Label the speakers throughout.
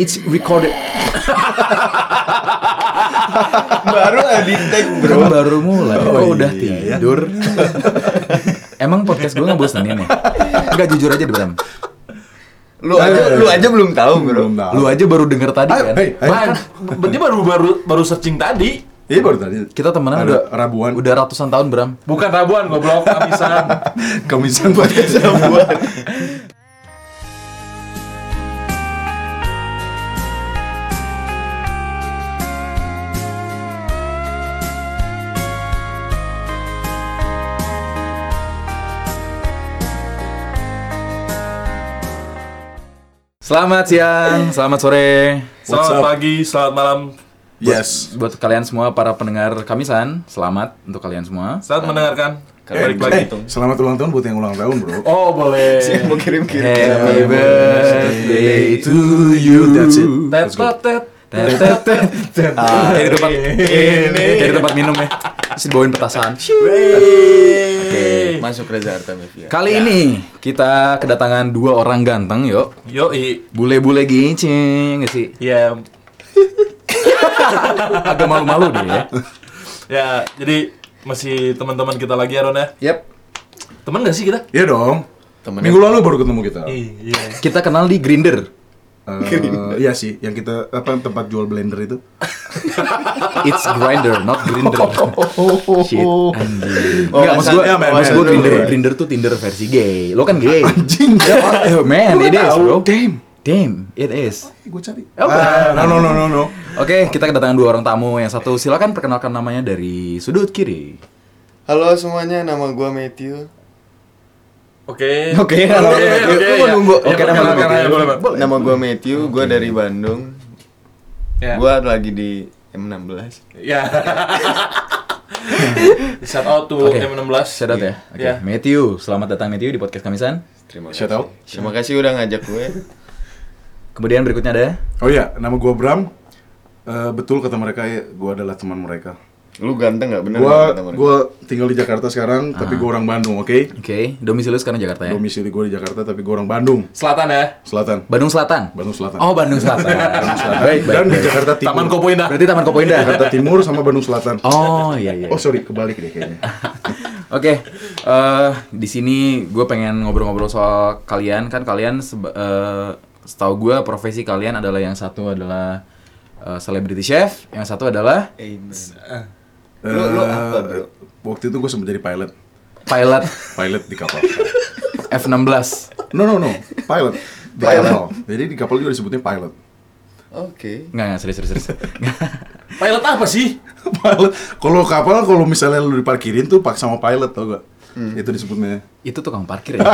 Speaker 1: It's recorded.
Speaker 2: Baru di take bro.
Speaker 1: Kan baru mulai.
Speaker 2: Oh,
Speaker 1: Kok udah
Speaker 2: iya, ya.
Speaker 1: tidur. Emang podcast gue ngebosenin ya? Enggak jujur aja deh Bram.
Speaker 2: Lu aja lu aja belum tahu bro.
Speaker 3: Belum tahu.
Speaker 1: Lu aja baru denger tadi
Speaker 3: Ayo,
Speaker 1: kan?
Speaker 3: hey, hey.
Speaker 1: Bahkan
Speaker 4: Berarti baru baru baru searching tadi.
Speaker 3: Iya baru tadi.
Speaker 1: kita temenan
Speaker 3: Ada
Speaker 1: udah
Speaker 3: Rabuan.
Speaker 1: Udah ratusan tahun Bram.
Speaker 4: Bukan Rabuan goblok, habisan.
Speaker 3: Kamisan buat kesambungan.
Speaker 1: Selamat siang, selamat sore
Speaker 3: What's
Speaker 4: Selamat
Speaker 3: up?
Speaker 4: pagi, selamat malam,
Speaker 3: yes.
Speaker 1: buat kalian semua para pendengar Kamisan. Selamat untuk kalian semua.
Speaker 4: selamat mendengarkan.
Speaker 3: Eh,
Speaker 4: Balik lagi
Speaker 3: eh, selamat ulang tahun buat yang ulang tahun bro.
Speaker 4: Oh boleh.
Speaker 2: Mau kirim-kirim. Eh,
Speaker 1: Happy birthday to you.
Speaker 3: That's it.
Speaker 4: Tet tet tet tet
Speaker 1: Tetet, tetet. Ah, Kayak di tempat kayak di tempat minum ya. Terus dibawain petasan.
Speaker 2: eh, Masuk Reza Artamevia.
Speaker 1: Kali ini kita kedatangan dua orang ganteng yuk.
Speaker 4: Yo i.
Speaker 1: Bule-bule gincing nggak sih?
Speaker 4: Ya
Speaker 1: Agak malu-malu deh ya.
Speaker 4: ya jadi masih teman-teman kita lagi Aron ya.
Speaker 1: Yep.
Speaker 4: Teman gak sih kita?
Speaker 3: Iya dong.
Speaker 2: Temennya-
Speaker 3: Minggu lalu baru ketemu kita.
Speaker 4: Iya.
Speaker 1: Kita kenal di Grinder.
Speaker 3: Eh, iya sih, yang kita apa tempat jual blender itu.
Speaker 1: It's grinder, not grinder. Shit, anjing.
Speaker 3: Oh,
Speaker 1: Enggak, maksud gue,
Speaker 3: wawasannya,
Speaker 1: maksud gue
Speaker 3: wawasannya
Speaker 1: Tinder,
Speaker 3: dulu ya.
Speaker 1: Tinder tuh Tinder versi gay. Lo kan gay.
Speaker 3: Anjing.
Speaker 1: Oh, man,
Speaker 3: Gua
Speaker 1: it is,
Speaker 3: tahu.
Speaker 1: bro.
Speaker 3: Damn.
Speaker 1: Damn, it is.
Speaker 3: Gue cari. Ah, no no no no no.
Speaker 1: Oke, kita kedatangan dua orang tamu. Yang satu silakan perkenalkan namanya dari sudut kiri.
Speaker 2: Halo semuanya, nama gua Matthew.
Speaker 4: Oke.
Speaker 1: Oke, halo,
Speaker 4: Oke,
Speaker 1: halo,
Speaker 4: oke,
Speaker 1: lu
Speaker 4: ya.
Speaker 1: mau nunggu.
Speaker 4: Ya,
Speaker 1: Oke, nama
Speaker 4: perkenalkan
Speaker 1: nunggu.
Speaker 4: aja, boleh, Pak.
Speaker 2: Nama gua Matthew, gua dari Bandung.
Speaker 4: Ya.
Speaker 2: Gua lagi di M16.
Speaker 4: Ya. Shout out to
Speaker 1: Oke.
Speaker 4: M16.
Speaker 1: Shout out ya. Oke,
Speaker 4: Iya.
Speaker 1: Matthew, selamat datang Matthew di podcast Kamisan.
Speaker 2: Terima kasih.
Speaker 3: Shout out.
Speaker 2: Terima kasih udah ngajak gue.
Speaker 1: Kemudian berikutnya ada
Speaker 3: Oh iya, nama gua Bram. Eh, betul kata mereka, ya, gua adalah teman mereka.
Speaker 2: Lu ganteng nggak bener?
Speaker 3: Gua
Speaker 2: nggak kata mereka?
Speaker 3: gua tinggal di Jakarta sekarang, tapi gua orang Bandung, oke?
Speaker 1: Oke, domisili lu sekarang Jakarta ya.
Speaker 3: Domisili gua di Jakarta, tapi gua orang Bandung
Speaker 4: Selatan ya.
Speaker 3: Selatan.
Speaker 1: Bandung Selatan.
Speaker 3: Bandung Selatan.
Speaker 1: Oh, Bandung Selatan. baik, baik.
Speaker 3: Dan di
Speaker 1: baik.
Speaker 3: Jakarta Timur.
Speaker 4: Taman Kopo Indah.
Speaker 1: Berarti Taman Kopo Indah.
Speaker 3: Jakarta Timur sama Bandung Selatan.
Speaker 1: Oh, iya iya.
Speaker 3: Oh sorry, kebalik deh kayaknya.
Speaker 1: Oke, eh, di sini gue pengen ngobrol-ngobrol soal kalian kan kalian seba- eh, setahu gue profesi kalian adalah yang satu adalah eh, celebrity chef, yang satu adalah
Speaker 2: Amen.
Speaker 3: Lo,
Speaker 2: lu apa, bro?
Speaker 3: Eh, Waktu itu gue sempat jadi pilot.
Speaker 1: pilot
Speaker 3: Pilot di kapal.
Speaker 1: F16.
Speaker 3: No, no, no. Pilot. Di kapal. Jadi di kapal juga disebutnya pilot.
Speaker 2: Oke.
Speaker 1: Enggak, enggak serius serius. serius. Nggak.
Speaker 4: Pilot apa sih?
Speaker 3: pilot. Kalau kapal, kalau misalnya lu diparkirin tuh pak sama pilot tau gak?
Speaker 2: Hmm.
Speaker 3: Itu disebutnya.
Speaker 1: Itu tukang parkir ya.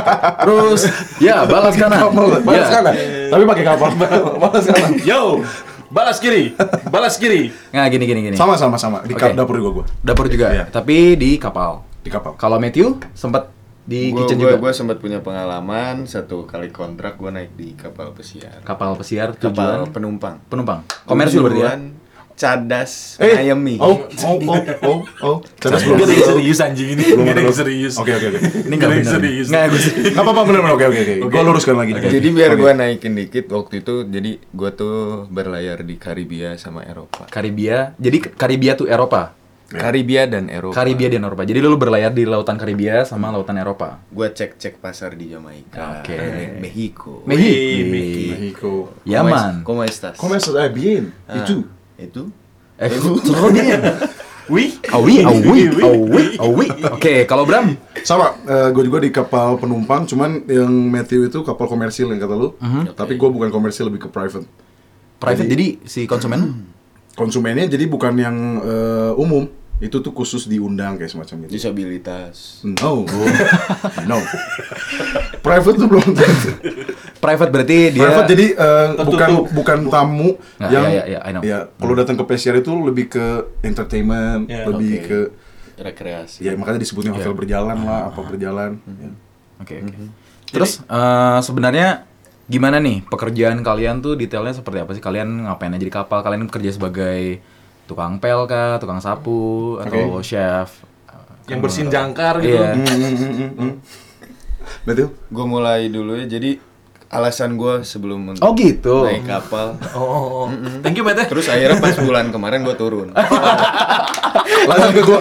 Speaker 1: Terus, ya balas kanan.
Speaker 3: Kapal, balas
Speaker 1: Ya.
Speaker 3: kanan. Tapi pakai kapal. Balas kanan.
Speaker 4: Yo. Balas kiri. Balas kiri.
Speaker 1: Nggak, gini gini gini.
Speaker 3: Sama, sama, sama. Di
Speaker 1: Oke.
Speaker 3: kap dapur juga gue.
Speaker 1: Dapur juga,
Speaker 3: Iya.
Speaker 1: tapi di kapal.
Speaker 3: Di kapal.
Speaker 1: Kalau Matthew sempat di
Speaker 2: Gua,
Speaker 1: kitchen
Speaker 2: gua,
Speaker 1: juga.
Speaker 2: gua sempat punya pengalaman satu kali kontrak gua naik di kapal pesiar.
Speaker 1: Kapal pesiar
Speaker 2: Kapal
Speaker 1: tujuan
Speaker 2: penumpang.
Speaker 1: penumpang. Komersil berarti ya.
Speaker 2: Tujuan Cadas,
Speaker 3: Eh,
Speaker 2: Miami.
Speaker 3: Oh, oh, oh, oh, oh. Terus belum.
Speaker 4: Gak ada yang serius Nah, anjing ini.
Speaker 3: Belum
Speaker 4: Gak ada
Speaker 3: ada
Speaker 4: yang serius.
Speaker 3: Oke, oke, oke.
Speaker 1: Ini nggak
Speaker 4: Ini
Speaker 1: benar.
Speaker 4: serius.
Speaker 1: Nggak, gue serius.
Speaker 3: Gak apa-apa benar-benar oke oke oke. Gue luruskan lagi.
Speaker 1: Oke.
Speaker 2: Jadi biar
Speaker 3: Oke.
Speaker 2: gua naikin dikit waktu itu jadi gua tuh berlayar di Karibia sama Eropa.
Speaker 1: Karibia. Jadi Karibia tuh Eropa.
Speaker 2: Karibia dan Eropa.
Speaker 1: Karibia dan Eropa. Jadi lu berlayar di lautan Karibia sama lautan Eropa.
Speaker 2: Gua cek-cek pasar di Jamaika. eh,
Speaker 1: Oke.
Speaker 2: Me- Mexico.
Speaker 4: Wih,
Speaker 1: Mehi.
Speaker 3: Mexico.
Speaker 1: Yaman.
Speaker 2: Como estas? Ah,
Speaker 3: Como essas? É, bien.
Speaker 1: Ah.
Speaker 3: E tu?
Speaker 2: Itu?
Speaker 1: Eh, seru dia.
Speaker 4: Wih.
Speaker 1: Awi, awi, awi, awi. Oke, kalau Bram,
Speaker 3: Sama, gue juga di kapal penumpang, cuman yang Matthew itu kapal komersil yang kata lu.
Speaker 1: Mhm.
Speaker 3: Tapi gue bukan komersil, lebih ke private.
Speaker 1: private jadi si konsumen
Speaker 3: Konsumennya jadi bukan yang eh, umum, itu tuh khusus diundang kayak semacam gitu. itu.
Speaker 2: Disabilitas.
Speaker 1: Oh.
Speaker 3: No, no. Private tuh belum tentu.
Speaker 1: private berarti dia
Speaker 3: Private jadi eh,
Speaker 4: Tertutup.
Speaker 3: bukan bukan tamu
Speaker 1: Nah,
Speaker 3: yang
Speaker 1: iya, iya, iya, I know.
Speaker 3: ya, kalau datang ke pesiar itu lebih ke entertainment,
Speaker 4: Iya.
Speaker 3: lebih
Speaker 2: Oke.
Speaker 3: ke
Speaker 2: Rekreasi.
Speaker 3: ya makanya disebutnya hotel berjalan lah, apa
Speaker 1: Ah.
Speaker 3: berjalan.
Speaker 1: Hmm.
Speaker 3: ya.
Speaker 1: Oke, oke. Terus eh, sebenarnya gimana nih pekerjaan kalian tuh detailnya seperti apa sih? Kalian ngapain aja di kapal? Kalian kerja sebagai tukang pel kah, tukang sapu atau chef?
Speaker 4: Yang bersin jangkar gitu.
Speaker 1: Iya.
Speaker 3: Mm, mm, mm, mm, mm. Matthew?
Speaker 2: Gue mulai dulu ya. Jadi alasan gue sebelum men-
Speaker 1: Oh gitu.
Speaker 2: naik kapal.
Speaker 4: Oh, oh, oh. thank you Matt ya.
Speaker 2: Terus akhirnya pas bulan kemarin gue turun.
Speaker 1: Langsung ke gua.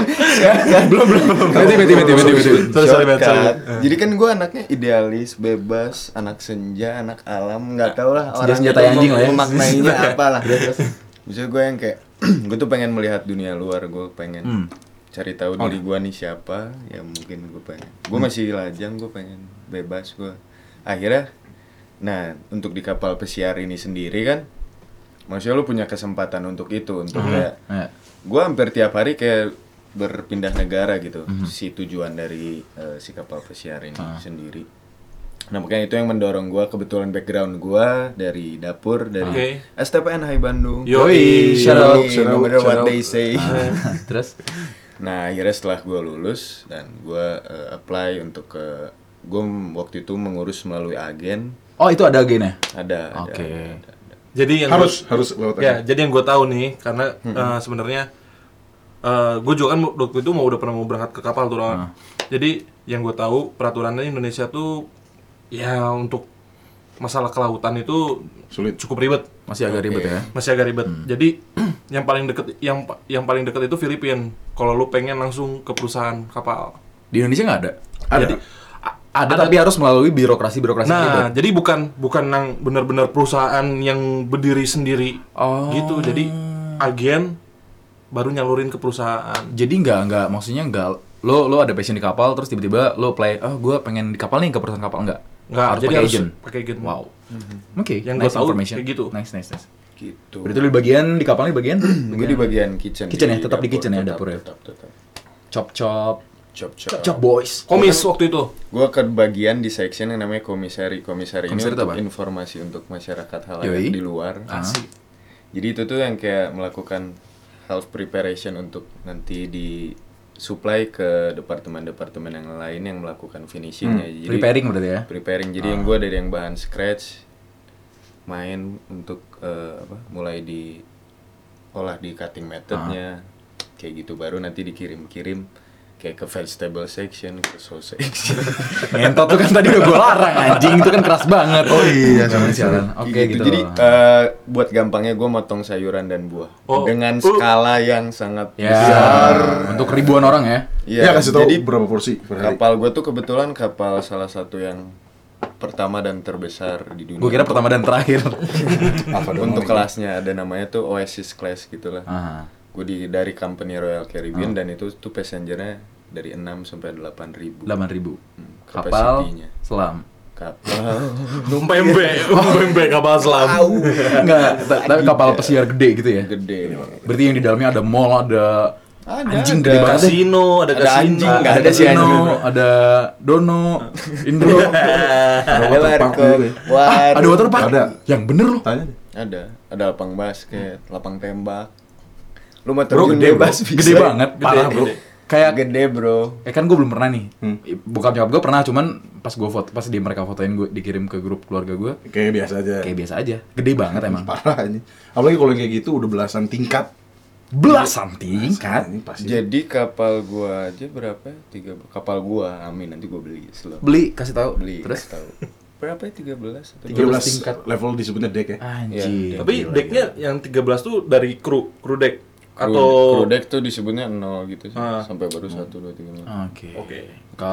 Speaker 1: belum belum. belum. Beti beti beti beti beti.
Speaker 4: Sorry, sorry, Matt, sorry.
Speaker 2: Shortcut. Jadi kan gue anaknya idealis, bebas, anak senja, anak alam, nggak tau lah orang
Speaker 1: Senja-senjata
Speaker 2: itu
Speaker 1: anjing lah ya.
Speaker 2: memaknainya apa lah. Bisa gue yang kayak, gue tuh pengen melihat dunia luar, gue pengen
Speaker 4: Hmm.
Speaker 2: cari tahu
Speaker 4: Oh.
Speaker 2: diri gue nih siapa, ya mungkin gue pengen. Gue
Speaker 4: Hmm.
Speaker 2: masih lajang, gue pengen bebas gue. Akhirnya, nah untuk di kapal pesiar ini sendiri kan, maksudnya lu punya kesempatan untuk itu, untuk
Speaker 4: Hmm.
Speaker 2: kayak
Speaker 1: Ya.
Speaker 2: gue hampir tiap hari kayak berpindah negara gitu
Speaker 1: Mhm.
Speaker 2: si tujuan dari eh, si kapal pesiar ini
Speaker 1: Ah.
Speaker 2: sendiri nah makanya itu yang mendorong gue kebetulan background gue dari dapur dari Eh,
Speaker 4: Oke.
Speaker 2: STPN Hai Bandung
Speaker 4: Yoi,
Speaker 1: Ah. shout out, Ah.
Speaker 2: Yoi,
Speaker 3: shout
Speaker 2: no
Speaker 3: out,
Speaker 2: matter
Speaker 3: shout
Speaker 2: what
Speaker 3: out.
Speaker 2: they say
Speaker 1: Terus
Speaker 2: nah akhirnya setelah gue lulus dan gue apply untuk ke gue waktu itu mengurus melalui agen
Speaker 1: Oh itu ada gennya.
Speaker 2: ada ada,
Speaker 1: Oke.
Speaker 2: ada, ada.
Speaker 4: Jadi
Speaker 1: Iya,
Speaker 4: yang
Speaker 3: harus harus lewat
Speaker 4: Ya, jadi yang gue tahu nih, karena eh, sebenarnya gue juga kan waktu itu mau udah pernah mau berangkat ke kapal tuh,
Speaker 3: Ah.
Speaker 4: Ron. Jadi yang gue tahu peraturannya Indonesia tuh ya untuk masalah kelautan itu
Speaker 3: sulit
Speaker 4: cukup ribet,
Speaker 1: Masih agak ribet ya.
Speaker 4: masih agak ribet. Jadi yang paling deket yang pa- yang paling deket itu Filipina. Kalau lu pengen langsung ke perusahaan kapal.
Speaker 1: Di Indonesia nggak ada.
Speaker 3: ada
Speaker 1: Ada, tapi harus melalui birokrasi birokrasi
Speaker 4: Nah, jadi bukan bukan yang benar-benar perusahaan yang berdiri sendiri
Speaker 1: Oh.
Speaker 4: gitu. Jadi agen baru nyalurin ke perusahaan.
Speaker 1: Jadi nggak nggak maksudnya nggak lo lo ada passion di kapal terus tiba-tiba lo play oh gue pengen di kapal nih ke perusahaan kapal enggak?
Speaker 4: Enggak,
Speaker 1: harus
Speaker 4: jadi
Speaker 1: pakai
Speaker 4: harus
Speaker 1: agent.
Speaker 4: pakai agent.
Speaker 1: Wow. Oke,
Speaker 4: Yang
Speaker 1: nice
Speaker 4: gua tahu
Speaker 1: information.
Speaker 4: kayak gitu.
Speaker 1: Nice, nice, nice.
Speaker 2: gitu
Speaker 1: Berarti lo di bagian di kapalnya di bagian
Speaker 2: gue di bagian kitchen
Speaker 1: Kitchen ya? Tetap di kitchen ya,
Speaker 2: tetap,
Speaker 1: dapur ya?
Speaker 2: tetap tetap
Speaker 1: chop chop chop
Speaker 2: chop chop
Speaker 1: chop boys.
Speaker 4: Komis waktu itu.
Speaker 2: Gue ke bagian di section yang namanya komisari. Komisari ini
Speaker 1: Komisari itu
Speaker 2: untuk
Speaker 1: apa?
Speaker 2: informasi untuk masyarakat
Speaker 1: Yoi. Ah.
Speaker 2: halayak di luar. Jadi itu tuh yang kayak melakukan health preparation untuk nanti di supply ke departemen-departemen yang lain yang melakukan finishingnya. Jadi
Speaker 1: Preparing berarti ya.
Speaker 2: preparing. Jadi yang gue dari yang bahan scratch main untuk eh, apa? Mulai di olah di
Speaker 1: Ah.
Speaker 2: cutting methodnya kayak gitu baru nanti dikirim-kirim kayak ke vegetable section, ke sausage section.
Speaker 1: Ngentot tuh kan tadi udah gue larang anjing itu kan keras banget. Oh iya, sialan. Oke gitu.
Speaker 2: Jadi eh, buat gampangnya gue motong sayuran dan buah
Speaker 4: Oh.
Speaker 2: dengan
Speaker 4: Uh.
Speaker 2: skala yang sangat
Speaker 1: ya
Speaker 2: besar.
Speaker 1: untuk ribuan orang ya.
Speaker 2: Iya,
Speaker 3: ya kasih tahu
Speaker 2: Jadi
Speaker 3: berapa porsi per hari
Speaker 2: kapal gue tuh kebetulan kapal salah satu yang pertama dan terbesar di dunia.
Speaker 1: Gue kira pertama dan terakhir.
Speaker 3: apa dong
Speaker 2: untuk kelasnya ada namanya tuh Oasis Class gitulah.
Speaker 1: Aha.
Speaker 2: Gue di dari company Royal Caribbean
Speaker 1: Ah.
Speaker 2: dan itu tuh passengernya dari 6 sampai 8 ribu. Hmm,
Speaker 1: 8000. Kapal
Speaker 2: capacity-nya.
Speaker 1: selam.
Speaker 2: Kapal.
Speaker 4: Pembe, pembe kapal selam.
Speaker 1: Enggak, ta- tapi kapal pesiar gede gitu ya.
Speaker 2: Gede.
Speaker 1: Berarti yang di dalamnya ada mall, ada
Speaker 2: Ada,
Speaker 1: anjing
Speaker 2: ada.
Speaker 1: gede banget deh.
Speaker 4: Kasino, ada
Speaker 2: Ada
Speaker 4: kasino.
Speaker 2: anjing, nggak
Speaker 1: ada
Speaker 2: ada sih
Speaker 1: Casino,
Speaker 2: anjing.
Speaker 1: ada Dono, Indro. Ah,
Speaker 2: Ada
Speaker 3: waterpark
Speaker 2: warkop,
Speaker 3: juga ya.
Speaker 2: war-
Speaker 1: ada waterpark.
Speaker 3: Ada.
Speaker 1: Yang bener loh.
Speaker 3: tanya deh
Speaker 2: Ada, ada lapang basket, lapang tembak. Lu mau
Speaker 1: Bro
Speaker 2: terjun
Speaker 1: gede ya?
Speaker 2: bebas
Speaker 1: bas,
Speaker 2: bisa.
Speaker 1: gede banget, parah bro.
Speaker 4: gede.
Speaker 1: Kayak
Speaker 2: Gede, Bro.
Speaker 1: Eh kan gue belum pernah nih.
Speaker 3: Hmm.
Speaker 1: Bukan nyokap gue pernah, cuman pas gue foto, pas dia mereka fotoin gue dikirim ke grup keluarga gue,
Speaker 3: kayak biasa aja
Speaker 1: kayak biasa aja. Gede banget emang.
Speaker 3: parah ini apalagi kalau yang kayak gitu udah belasan tingkat Kan,
Speaker 1: Belasan tingkat.
Speaker 3: ini pasti
Speaker 2: Jadi kapal gua aja berapa? ya? Tiga kapal gua, amin nanti gua beli slow.
Speaker 1: Beli kasih tahu.
Speaker 2: Beli.
Speaker 1: Terus
Speaker 2: tahu. Berapa ya? 13 atau
Speaker 3: 13
Speaker 1: 13 tingkat. Ah.
Speaker 3: level disebutnya deck ya
Speaker 1: anjir.
Speaker 4: Tapi decknya yang 13 tuh dari kru, kru deck atau
Speaker 2: Krude- krudek tuh disebutnya 0 gitu sih. Sampai baru 1 2 3
Speaker 1: Oke.
Speaker 4: Oke.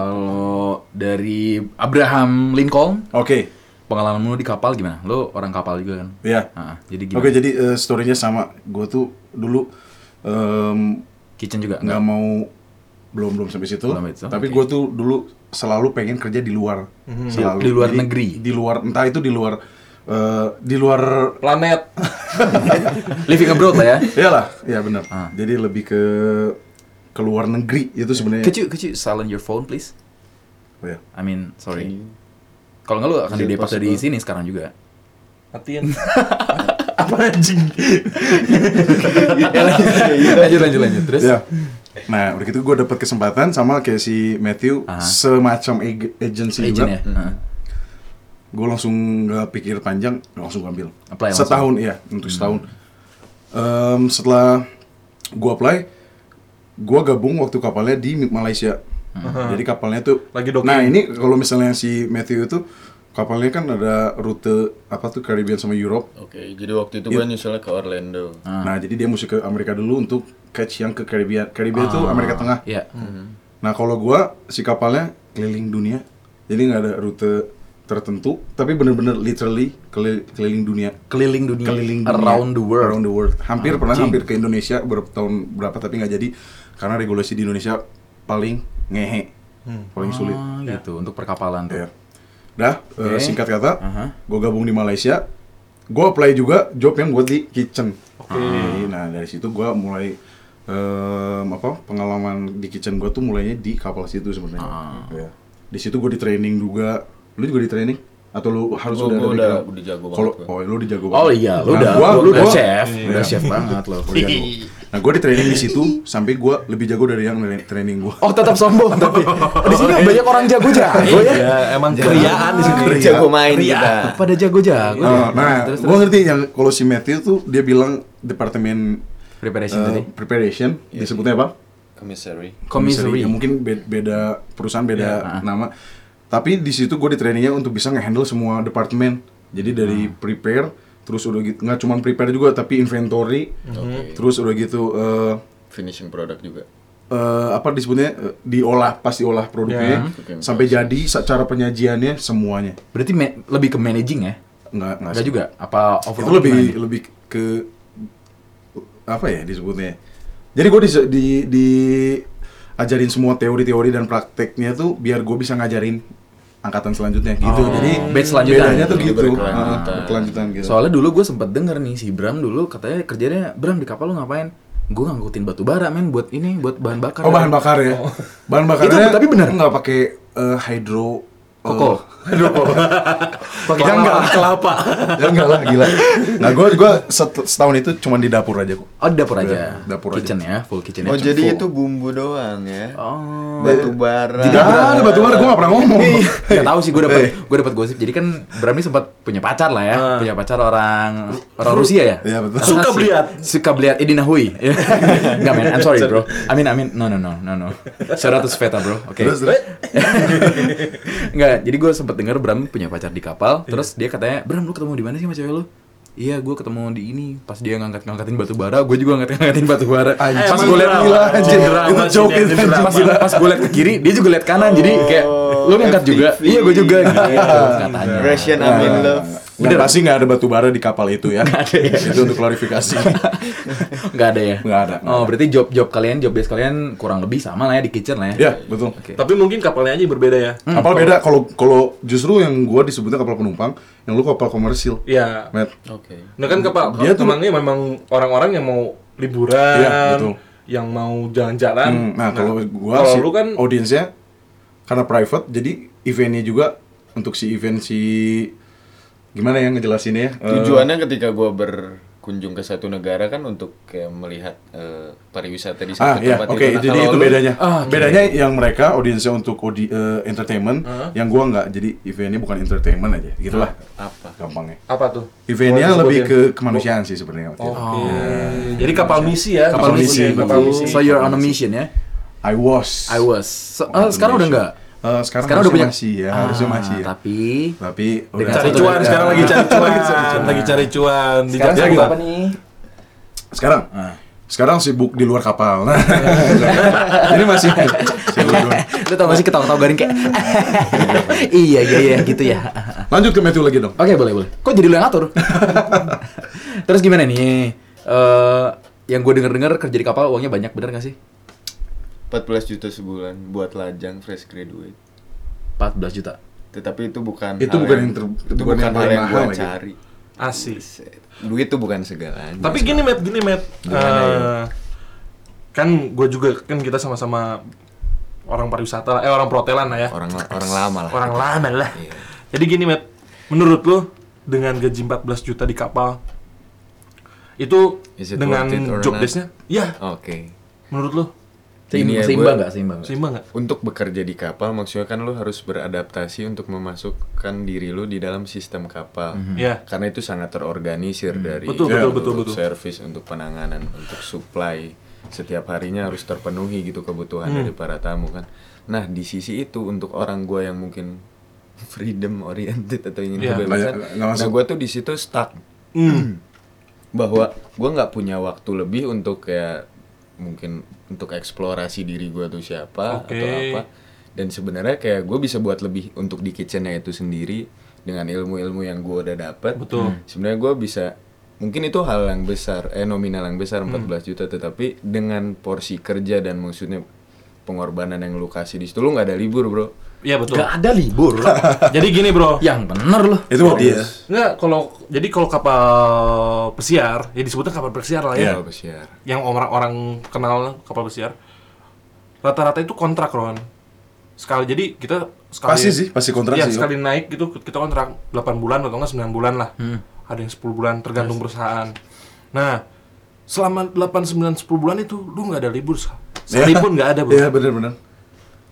Speaker 1: Kalau dari Abraham Lincoln,
Speaker 3: oke
Speaker 1: pengalaman lu di kapal gimana? Lu orang kapal juga kan?
Speaker 3: Iya.
Speaker 1: Ah, jadi gimana?
Speaker 3: oke jadi eh, story-nya sama gue tuh dulu em,
Speaker 1: Kitchen juga
Speaker 3: nggak
Speaker 1: enggak?
Speaker 3: mau belum belum sampai situ
Speaker 1: Belum itu,
Speaker 3: tapi
Speaker 1: oke. Mhm.
Speaker 3: gue tuh dulu selalu pengen kerja di luar selalu
Speaker 1: Di luar
Speaker 3: Jadi,
Speaker 1: negeri?
Speaker 3: di luar entah itu di luar eh, di luar
Speaker 4: planet.
Speaker 1: Living abroad lah ya.
Speaker 3: iyalah ya benar
Speaker 1: Ah.
Speaker 3: jadi lebih ke ke luar negeri itu sebenarnya
Speaker 1: Could you, could you silent your phone please?
Speaker 3: Oh, ya.
Speaker 1: I mean, sorry.
Speaker 2: Iya.
Speaker 1: Kalau nggak lu akan
Speaker 2: Is
Speaker 3: Iya,
Speaker 2: it
Speaker 1: didepak dari
Speaker 2: possible?
Speaker 1: sini sekarang juga.
Speaker 4: Matiin. Apa anjing?
Speaker 3: Iya,
Speaker 1: Ya, lanjut, lanjut, lanjut, lanjut. Terus?
Speaker 3: Ya. Nah, udah gitu gue dapet kesempatan sama kayak si Matthew
Speaker 1: Aha.
Speaker 3: semacam ag- agency
Speaker 1: Agent ya?
Speaker 3: juga.
Speaker 1: Heeh.
Speaker 3: Gue langsung nggak pikir panjang, langsung gua ambil.
Speaker 1: Apply langsung. Hmm.
Speaker 3: setahun iya, untuk setahun. Em, setelah gue apply, gue gabung waktu kapalnya
Speaker 1: Hmm.
Speaker 3: di Malaysia. Jadi kapalnya tuh
Speaker 4: Lagi docking.
Speaker 3: Nah, ini kalau misalnya si Matthew itu kapalnya kan ada rute apa tuh Caribbean sama Europe.
Speaker 2: Oke, jadi waktu itu gue nyusulnya ke Orlando.
Speaker 1: Ah.
Speaker 3: Nah, jadi dia mesti ke Amerika dulu untuk catch yang ke Caribbean. Caribbean tuh Amerika Tengah.
Speaker 1: Iya.
Speaker 4: Hmm.
Speaker 3: Nah, kalau gua si kapalnya keliling dunia. Jadi nggak ada rute tertentu, tapi bener-bener literally keli- keliling dunia.
Speaker 1: Keliling dunia.
Speaker 3: Keliling dunia.
Speaker 1: Around the world.
Speaker 3: Around the world. Hampir pernah hampir ke Indonesia beberapa tahun berapa tapi nggak jadi karena regulasi di Indonesia paling ngehe. Paling sulit.
Speaker 1: Ah, gitu untuk perkapalan tuh.
Speaker 3: Ya. Dah,
Speaker 1: Oke.
Speaker 3: eh,
Speaker 1: Ah.
Speaker 3: singkat kata,
Speaker 1: Aha.
Speaker 3: gue gabung di Malaysia. Gue apply juga job yang buat di kitchen. Oke. Nah dari situ gue mulai em, apa pengalaman di kitchen gue tuh mulainya di kapal situ sebenarnya.
Speaker 2: Ah.
Speaker 3: Ya. Di situ gue di training juga. Lu juga di training? Atau lu harus
Speaker 2: Gua-
Speaker 3: udah
Speaker 2: gua
Speaker 3: ada
Speaker 2: udah-
Speaker 3: background?
Speaker 2: udah jago banget
Speaker 3: Kalau
Speaker 2: gua.
Speaker 3: oh lu udah jago banget.
Speaker 1: Oh iya, lu
Speaker 3: Nah,
Speaker 1: udah,
Speaker 3: gua,
Speaker 1: lu
Speaker 3: lu
Speaker 1: udah
Speaker 3: gua-
Speaker 1: chef,
Speaker 3: Iya.
Speaker 1: udah chef banget lo.
Speaker 3: Udah jago. Nah gue di training di situ sampai gue lebih jago dari yang training gue.
Speaker 1: Oh tetap sombong tapi Oh, di sini banyak orang jago jago ya.
Speaker 4: Iya, emang keriaan di sini.
Speaker 3: Iya.
Speaker 2: Jago main kita.
Speaker 1: Pada jago jago. Iya.
Speaker 3: Nah, nah gue ngerti yang kalau si Matthew tuh dia bilang departemen
Speaker 1: Preparation
Speaker 3: eh,
Speaker 1: tadi.
Speaker 3: preparation
Speaker 1: Iya.
Speaker 3: disebutnya apa?
Speaker 2: Commissary.
Speaker 1: Commissary.
Speaker 3: Ya, mungkin be- beda perusahaan beda nama. Tapi di situ gue di trainingnya untuk bisa ngehandle semua departemen. Jadi dari prepare, terus udah gitu nggak cuma prepare juga tapi inventory, terus udah gitu eh,
Speaker 2: Finishing product juga.
Speaker 3: eh, apa disebutnya eh, diolah pas diolah produknya
Speaker 2: Cooking
Speaker 3: sampai jadi secara penyajiannya semuanya
Speaker 1: Berarti ma- lebih ke managing ya?
Speaker 3: nggak nggak
Speaker 1: Enggak juga. Apa
Speaker 3: itu
Speaker 1: overall
Speaker 3: lebih
Speaker 1: gimana?
Speaker 3: lebih ke apa ya disebutnya jadi gue di, di di ajarin semua teori-teori dan prakteknya tuh biar gue bisa ngajarin angkatan selanjutnya gitu jadi
Speaker 1: Oh. batch selanjutan.
Speaker 3: bedanya tuh
Speaker 2: Jadi
Speaker 3: gitu
Speaker 2: berkelanjutan.
Speaker 3: Ah, berkelanjutan gitu
Speaker 1: Soalnya dulu gue sempet denger nih si Bram dulu katanya kerjanya Bram di kapal lu ngapain? Gue ngangkutin batu bara men buat ini buat bahan bakar.
Speaker 3: oh bahan bakar ya bahan bakarnya
Speaker 1: Itu, tapi bener.
Speaker 3: nggak pakai eh, Ya hydro
Speaker 1: Koko.
Speaker 3: hydro pakai janggal
Speaker 4: kelapa.
Speaker 3: janggal Ya lah gila nah gue gue set- setahun itu cuma di dapur aja kok Iya,
Speaker 1: Oh di dapur aja.
Speaker 3: Dapur aja.
Speaker 1: kitchen ya, full kitchen.
Speaker 2: Oh
Speaker 1: ya.
Speaker 2: jadi itu bumbu doang ya?
Speaker 1: Oh.
Speaker 2: Batu bara.
Speaker 3: Tidak ada batu bara, gue gak pernah ngomong.
Speaker 1: Gak tahu sih gue dapat gue dapat gosip. Jadi kan Bram ini sempat punya pacar lah ya, punya pacar orang orang Rusia ya.
Speaker 3: Ah. Iya, betul.
Speaker 1: Karena si-
Speaker 4: Sukabeliat.
Speaker 1: Sukabeliat Edina Hui. Enggak men, I'm sorry bro. I mean I mean no no no no no. Shout out to Sveta bro. Oke.
Speaker 3: Terus, terus.
Speaker 1: Enggak, jadi gue sempet denger Bram punya pacar di kapal,
Speaker 3: Iya.
Speaker 1: terus dia katanya, "Bram, lu ketemu di mana sih sama cewek lu?" Iya, gue ketemu di ini pas dia ngangkat-ngangkatin batu bara, gue juga ngangkat-ngangkatin batu bara.
Speaker 3: Anjing.
Speaker 1: Pas
Speaker 4: Emang
Speaker 1: gue liat
Speaker 4: drama.
Speaker 1: gila anjing,
Speaker 4: Oh, drama
Speaker 1: itu
Speaker 4: sih,
Speaker 1: joke
Speaker 4: dia
Speaker 1: itu
Speaker 4: drama.
Speaker 1: anjing. pas, pas gue liat ke kiri, dia juga liat kanan, jadi
Speaker 3: Oh.
Speaker 1: kayak lu ngangkat juga,
Speaker 2: FTV.
Speaker 1: iya gue juga gitu katanya.
Speaker 3: Iya.
Speaker 2: Russian I'm
Speaker 3: Nah.
Speaker 2: in love.
Speaker 3: Bener pasti nggak ada batu bara di kapal itu ya. itu untuk klarifikasi.
Speaker 1: Nggak ada ya?
Speaker 3: Nggak ada, nggak
Speaker 1: Oh, berarti job-job kalian, job desk kalian kurang lebih sama lah ya di kitchen lah ya?
Speaker 3: ya betul.
Speaker 4: Tapi mungkin kapalnya aja berbeda ya.
Speaker 3: Kapal beda kalau kalau justru yang gua disebutnya kapal penumpang, yang lu kapal komersil.
Speaker 4: Iya.
Speaker 3: Matt.
Speaker 2: Oke.
Speaker 4: Nah kan kapal
Speaker 3: Dia tuh-
Speaker 4: temannya memang orang-orang yang mau liburan,
Speaker 3: Iya, betul.
Speaker 4: yang mau jalan-jalan.
Speaker 3: Hmm, nah, kalau gua
Speaker 4: Kan?
Speaker 3: Oh,
Speaker 4: kalau
Speaker 3: si
Speaker 4: lu kan
Speaker 3: audiensnya karena private, jadi eventnya juga untuk si event si gimana ya ngejelasinnya ya? Eh,
Speaker 2: Tujuannya ketika gue berkunjung ke satu negara kan untuk kayak melihat eh, pariwisata di satu
Speaker 3: Ah iya,
Speaker 2: tempat
Speaker 3: oke.
Speaker 2: Nah,
Speaker 3: jadi
Speaker 2: kalau
Speaker 3: itu
Speaker 2: lu-
Speaker 3: bedanya. Bedanya yang mereka audiensnya untuk audi- eh, entertainment, yang gua nggak. Jadi eventnya bukan entertainment aja, gitulah.
Speaker 2: Apa?
Speaker 3: Gampangnya.
Speaker 4: apa tuh?
Speaker 3: Eventnya
Speaker 4: Boleh
Speaker 3: lebih ke
Speaker 4: disebutin?
Speaker 3: kemanusiaan sih
Speaker 4: Oh.
Speaker 3: sebenarnya. waktu itu.
Speaker 4: Oke. Jadi kapal misi ya.
Speaker 1: Kapal misi.
Speaker 4: Oke, Kapal misi.
Speaker 1: So you're on a mission ya?
Speaker 3: I was.
Speaker 1: I was. So- eh,
Speaker 4: Oh,
Speaker 1: sekarang udah enggak?
Speaker 3: Eh, sekarang,
Speaker 1: Sekarang udah punya.
Speaker 3: harusnya
Speaker 1: Ah,
Speaker 3: masih ya, harusnya masih. Ya.
Speaker 1: Tapi
Speaker 3: Tapi udah.
Speaker 4: Ah, Cari
Speaker 1: Satu
Speaker 4: cuan
Speaker 1: negara.
Speaker 4: sekarang lagi cari cuan, lagi cari cuan di
Speaker 1: sekarang
Speaker 4: Jakarta.
Speaker 1: sibuk apa nih?
Speaker 3: Sekarang. Ah. Sekarang sibuk di luar kapal. Nah, Jadi masih sibuk di luar.
Speaker 1: Lu tau gak sih ketawa-ketawa garing kayak Iya iya iya gitu ya
Speaker 3: Lanjut ke Matthew lagi dong.
Speaker 1: Oke boleh boleh Kok jadi lu yang ngatur? Terus gimana nih? Eh, yang gue denger-denger kerja di kapal uangnya banyak bener gak sih?
Speaker 2: 14 juta sebulan buat lajang fresh graduate.
Speaker 1: 14 juta
Speaker 2: Tetapi itu bukan
Speaker 3: Itu
Speaker 2: hal
Speaker 3: bukan yang ter-
Speaker 2: itu bukan
Speaker 3: bukan yang
Speaker 2: hal
Speaker 3: paling
Speaker 2: yang gue
Speaker 3: mahal lagi.
Speaker 2: cari.
Speaker 4: Asik.
Speaker 2: Duit itu bukan segalanya.
Speaker 4: Tapi gini Matt, gini Matt.
Speaker 2: ya?
Speaker 4: Eh, kan gue juga kan kita sama-sama orang pariwisata lah, eh orang perhotelan lah ya.
Speaker 2: orang orang lama lah. Iya.
Speaker 4: Orang lama lah. Jadi gini Matt, menurut lu dengan gaji 14 juta di kapal itu
Speaker 2: Is it
Speaker 4: dengan
Speaker 2: worth it or
Speaker 4: job
Speaker 2: not?
Speaker 4: desk-nya? Iya,
Speaker 2: Oke.
Speaker 4: menurut lu
Speaker 1: Seim-
Speaker 2: Ini ya,
Speaker 1: Seimbang
Speaker 2: gue-
Speaker 1: gak? Seimbang nggak?
Speaker 4: seimbang nggak?
Speaker 2: Untuk bekerja di kapal maksudnya kan lu harus beradaptasi untuk memasukkan diri lu di dalam sistem kapal.
Speaker 3: Mhm.
Speaker 4: Iya.
Speaker 2: Karena itu sangat terorganisir dari
Speaker 4: Betul,
Speaker 2: ya,
Speaker 4: betul,
Speaker 2: untuk
Speaker 4: betul, betul.
Speaker 2: service, untuk penanganan, untuk supply setiap harinya harus
Speaker 4: Hmm.
Speaker 2: terpenuhi gitu kebutuhan dari para tamu kan. Nah di sisi itu untuk orang gua yang mungkin freedom oriented atau ingin
Speaker 4: Iya.
Speaker 2: kebebasan.
Speaker 3: Nggak- nggak
Speaker 2: Nah,
Speaker 3: masuk.
Speaker 2: gue tuh di situ stuck
Speaker 4: Hmm.
Speaker 2: bahwa gue nggak punya waktu lebih untuk kayak mungkin untuk eksplorasi diri gue tuh siapa
Speaker 4: Oke.
Speaker 2: atau apa. Dan sebenarnya kayak gue bisa buat lebih untuk di kitchennya itu sendiri dengan ilmu-ilmu yang gue udah dapet.
Speaker 4: Betul.
Speaker 1: Hmm.
Speaker 2: Sebenarnya gue bisa mungkin itu hal yang besar, eh nominal yang besar
Speaker 1: Hmm.
Speaker 2: 14 juta, tetapi dengan porsi kerja dan maksudnya pengorbanan yang lu kasih di situ lu nggak ada libur bro.
Speaker 1: Oh,
Speaker 4: Iya betul.
Speaker 1: Gak ada libur.
Speaker 4: Jadi gini bro,
Speaker 2: Ya.
Speaker 1: yang bener loh.
Speaker 3: Itu buat
Speaker 4: Iya.
Speaker 3: dia.
Speaker 4: Enggak, kalau jadi kalau kapal pesiar, ya disebutnya kapal pesiar lah
Speaker 1: iya.
Speaker 4: ya.
Speaker 2: Kalau pesiar.
Speaker 4: Yang orang-orang kenal kapal pesiar. Rata-rata itu kontrak, Ron. Sekali jadi kita sekali
Speaker 3: Pasti sih, pasti kontrak
Speaker 4: Iya,
Speaker 3: sih, Ya.
Speaker 4: sekali naik gitu kita kontrak 8 bulan atau enggak 9 bulan lah. Ada yang 10 bulan tergantung perusahaan. Nah, selama 8 9 10 bulan itu lu nggak ada libur Sa. Sehari pun nggak ada, Bro.
Speaker 3: Iya benar-benar.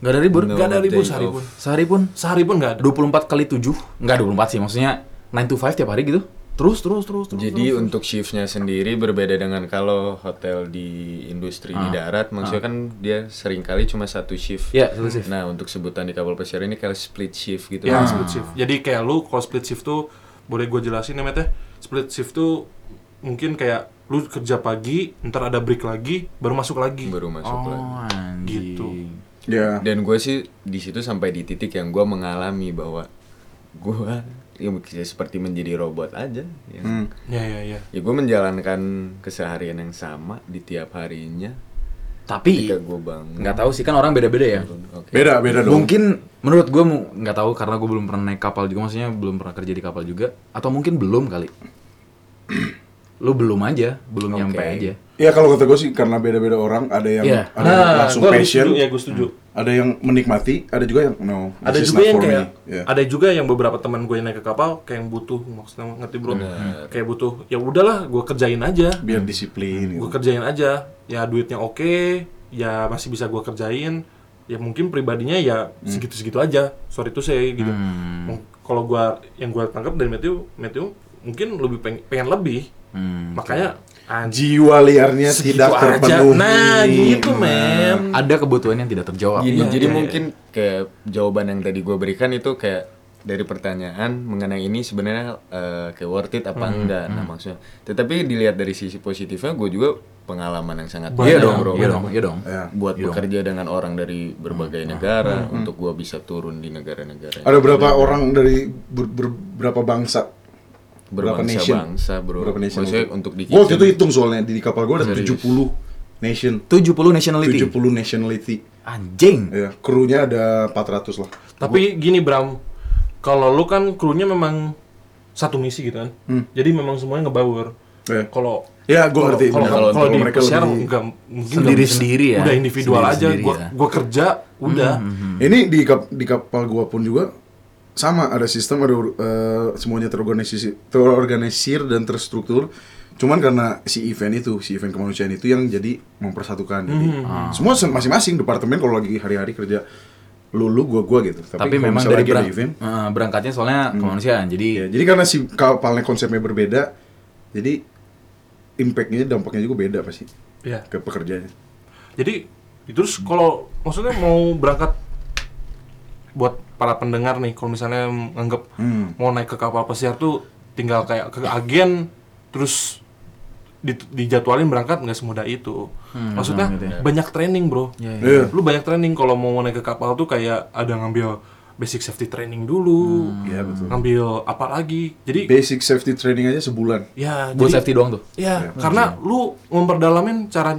Speaker 1: Gak ada libur.
Speaker 4: Nggak ada
Speaker 2: No
Speaker 4: libur
Speaker 2: day
Speaker 4: sehari
Speaker 2: off.
Speaker 4: pun.
Speaker 1: Sehari pun
Speaker 4: Sehari pun nggak ada.
Speaker 1: 24 kali 7. Enggak 24 sih, maksudnya 9 to 5 tiap hari gitu. Terus terus terus terus.
Speaker 2: Jadi untuk shiftnya sendiri berbeda dengan kalau hotel di industri di darat, maksudnya kan dia seringkali cuma satu shift.
Speaker 1: Ah. Iya, satu shift. Iya,
Speaker 2: Nah untuk sebutan di kapal pesiar ini kayak split shift gitu.
Speaker 3: Hmm.
Speaker 4: Ya, split shift. Jadi kayak lu kalau split shift tuh boleh gue jelasin ya, Matt ya. Split shift tuh mungkin kayak lu kerja pagi, ntar ada break lagi, baru masuk lagi.
Speaker 2: Baru masuk lagi.
Speaker 1: Oh, anjing.
Speaker 4: Gitu.
Speaker 3: Iya.
Speaker 2: Dan gue sih di situ sampai di titik yang gue mengalami bahwa gue ya kayak seperti menjadi robot aja. Ya,
Speaker 1: Hmm.
Speaker 4: Ya, ya, ya.
Speaker 2: ya gue menjalankan keseharian yang sama di tiap harinya.
Speaker 1: Tapi
Speaker 2: Ketika gue bangun.
Speaker 1: nggak tahu sih kan orang beda-beda ya.
Speaker 2: Oke.
Speaker 3: Beda beda dong.
Speaker 1: Mungkin menurut gue mu- nggak tahu karena gue belum pernah naik kapal juga, maksudnya belum pernah kerja di kapal juga, atau mungkin belum kali. Lu belum aja, belum nyampe aja.
Speaker 3: Iya kalau kata gue sih karena beda-beda orang ada yang
Speaker 1: Iya.
Speaker 3: ada yang langsung
Speaker 4: gua
Speaker 3: passion,
Speaker 4: setuju, ya gue setuju.
Speaker 3: ada yang menikmati, ada juga yang no.
Speaker 4: Ada
Speaker 3: this is
Speaker 4: juga
Speaker 3: not
Speaker 4: yang
Speaker 3: for
Speaker 4: kayak,
Speaker 3: me. Iya.
Speaker 4: ada juga yang beberapa teman gue yang naik ke kapal kayak yang butuh maksudnya ngerti bro, kayak butuh. Ya udahlah, gue kerjain aja.
Speaker 3: biar disiplin. Gitu.
Speaker 4: gue kerjain aja ya duitnya oke ya masih bisa gue kerjain ya mungkin pribadinya ya
Speaker 3: Hmm.
Speaker 4: segitu-segitu aja sorry itu saya gitu Mung- kalau gue yang gue tangkap dari Matthew Matthew mungkin lebih peng- pengen lebih makanya anjing
Speaker 3: Jiwa liarnya Hmm, tidak terpenuhi.
Speaker 4: nah gitu
Speaker 3: Nah.
Speaker 4: men
Speaker 1: Ada kebutuhan yang tidak terjawab. Iya.
Speaker 2: Gini, jadi mungkin kayak jawaban yang tadi gue berikan itu kayak dari pertanyaan mengenai ini sebenarnya eh, kayak worth it apa
Speaker 1: Hmm.
Speaker 2: enggak nah maksudnya tetapi dilihat dari sisi positifnya gue juga pengalaman yang sangat
Speaker 1: Iya
Speaker 2: banyak,
Speaker 1: dong,
Speaker 2: bro.
Speaker 1: iya dong, iya dong.
Speaker 3: Iya. Hmm.
Speaker 2: buat bekerja dengan orang dari berbagai negara untuk gue bisa turun di negara-negara
Speaker 3: Ada berapa orang dari ber- ber- berapa bangsa? Berapa nation?
Speaker 2: berbangsa-bangsa bro
Speaker 3: Berapa nation?
Speaker 2: maksudnya
Speaker 3: itu?
Speaker 2: untuk di
Speaker 3: Gua waktu
Speaker 2: kitchen,
Speaker 3: itu hitung soalnya di kapal gue ada 70 nation,
Speaker 1: 70 nationality.
Speaker 3: 70 nationality.
Speaker 1: Anjing.
Speaker 3: Ya, krunya ada 400 lah.
Speaker 4: tapi gini Bram kalau lu kan krunya memang satu misi gitu kan
Speaker 3: Hmm.
Speaker 4: jadi memang semuanya ngebaur
Speaker 3: Iya.
Speaker 4: kalau
Speaker 3: Ya, gue ngerti.
Speaker 4: kalau
Speaker 3: Bener.
Speaker 4: kalau kalau di
Speaker 3: mereka
Speaker 4: pesiar
Speaker 3: lebih-
Speaker 4: nggak mungkin
Speaker 1: Sendiri-sendiri ya.
Speaker 4: udah individual aja
Speaker 1: Sendiri-sendiri
Speaker 4: gua
Speaker 1: ya.
Speaker 4: gua kerja udah
Speaker 3: Hmm. Ini di kap- di kapal gua pun juga sama ada sistem ada ur- eh, semuanya terorganisir terorganisir dan terstruktur. Cuman karena si event itu, si event kemanusiaan itu yang jadi mempersatukan. Jadi
Speaker 1: Ah.
Speaker 3: semua se- masing-masing departemen kalau lagi hari-hari kerja lulu gua gua gitu.
Speaker 1: Tapi,
Speaker 3: kalau
Speaker 1: memang
Speaker 3: misalnya
Speaker 1: dari
Speaker 3: lagi ada
Speaker 1: berang- eh, berangkatnya soalnya kemanusiaan. Jadi
Speaker 3: Ya, jadi karena si kapalnya konsepnya berbeda, jadi impactnya dampaknya juga beda pasti
Speaker 4: Iya.
Speaker 3: ke pekerjaannya.
Speaker 4: Jadi terus kalau maksudnya mau berangkat buat para pendengar nih kalau misalnya nganggep
Speaker 3: Hmm.
Speaker 4: mau naik ke kapal pesiar tuh tinggal kayak ke agen terus di- dijadwalin berangkat nggak semudah itu. maksudnya banyak training, Bro.
Speaker 3: Hmm, ya. Iya.
Speaker 4: Lu banyak training kalau mau naik ke kapal tuh kayak ada ngambil basic safety training dulu.
Speaker 3: Iya, betul.
Speaker 4: Ngambil apa lagi? Jadi
Speaker 3: Basic safety training aja sebulan.
Speaker 4: ya
Speaker 1: buat
Speaker 4: jadi-
Speaker 1: safety doang tuh.
Speaker 3: Iya,
Speaker 4: Ya, karena lu memperdalamin cara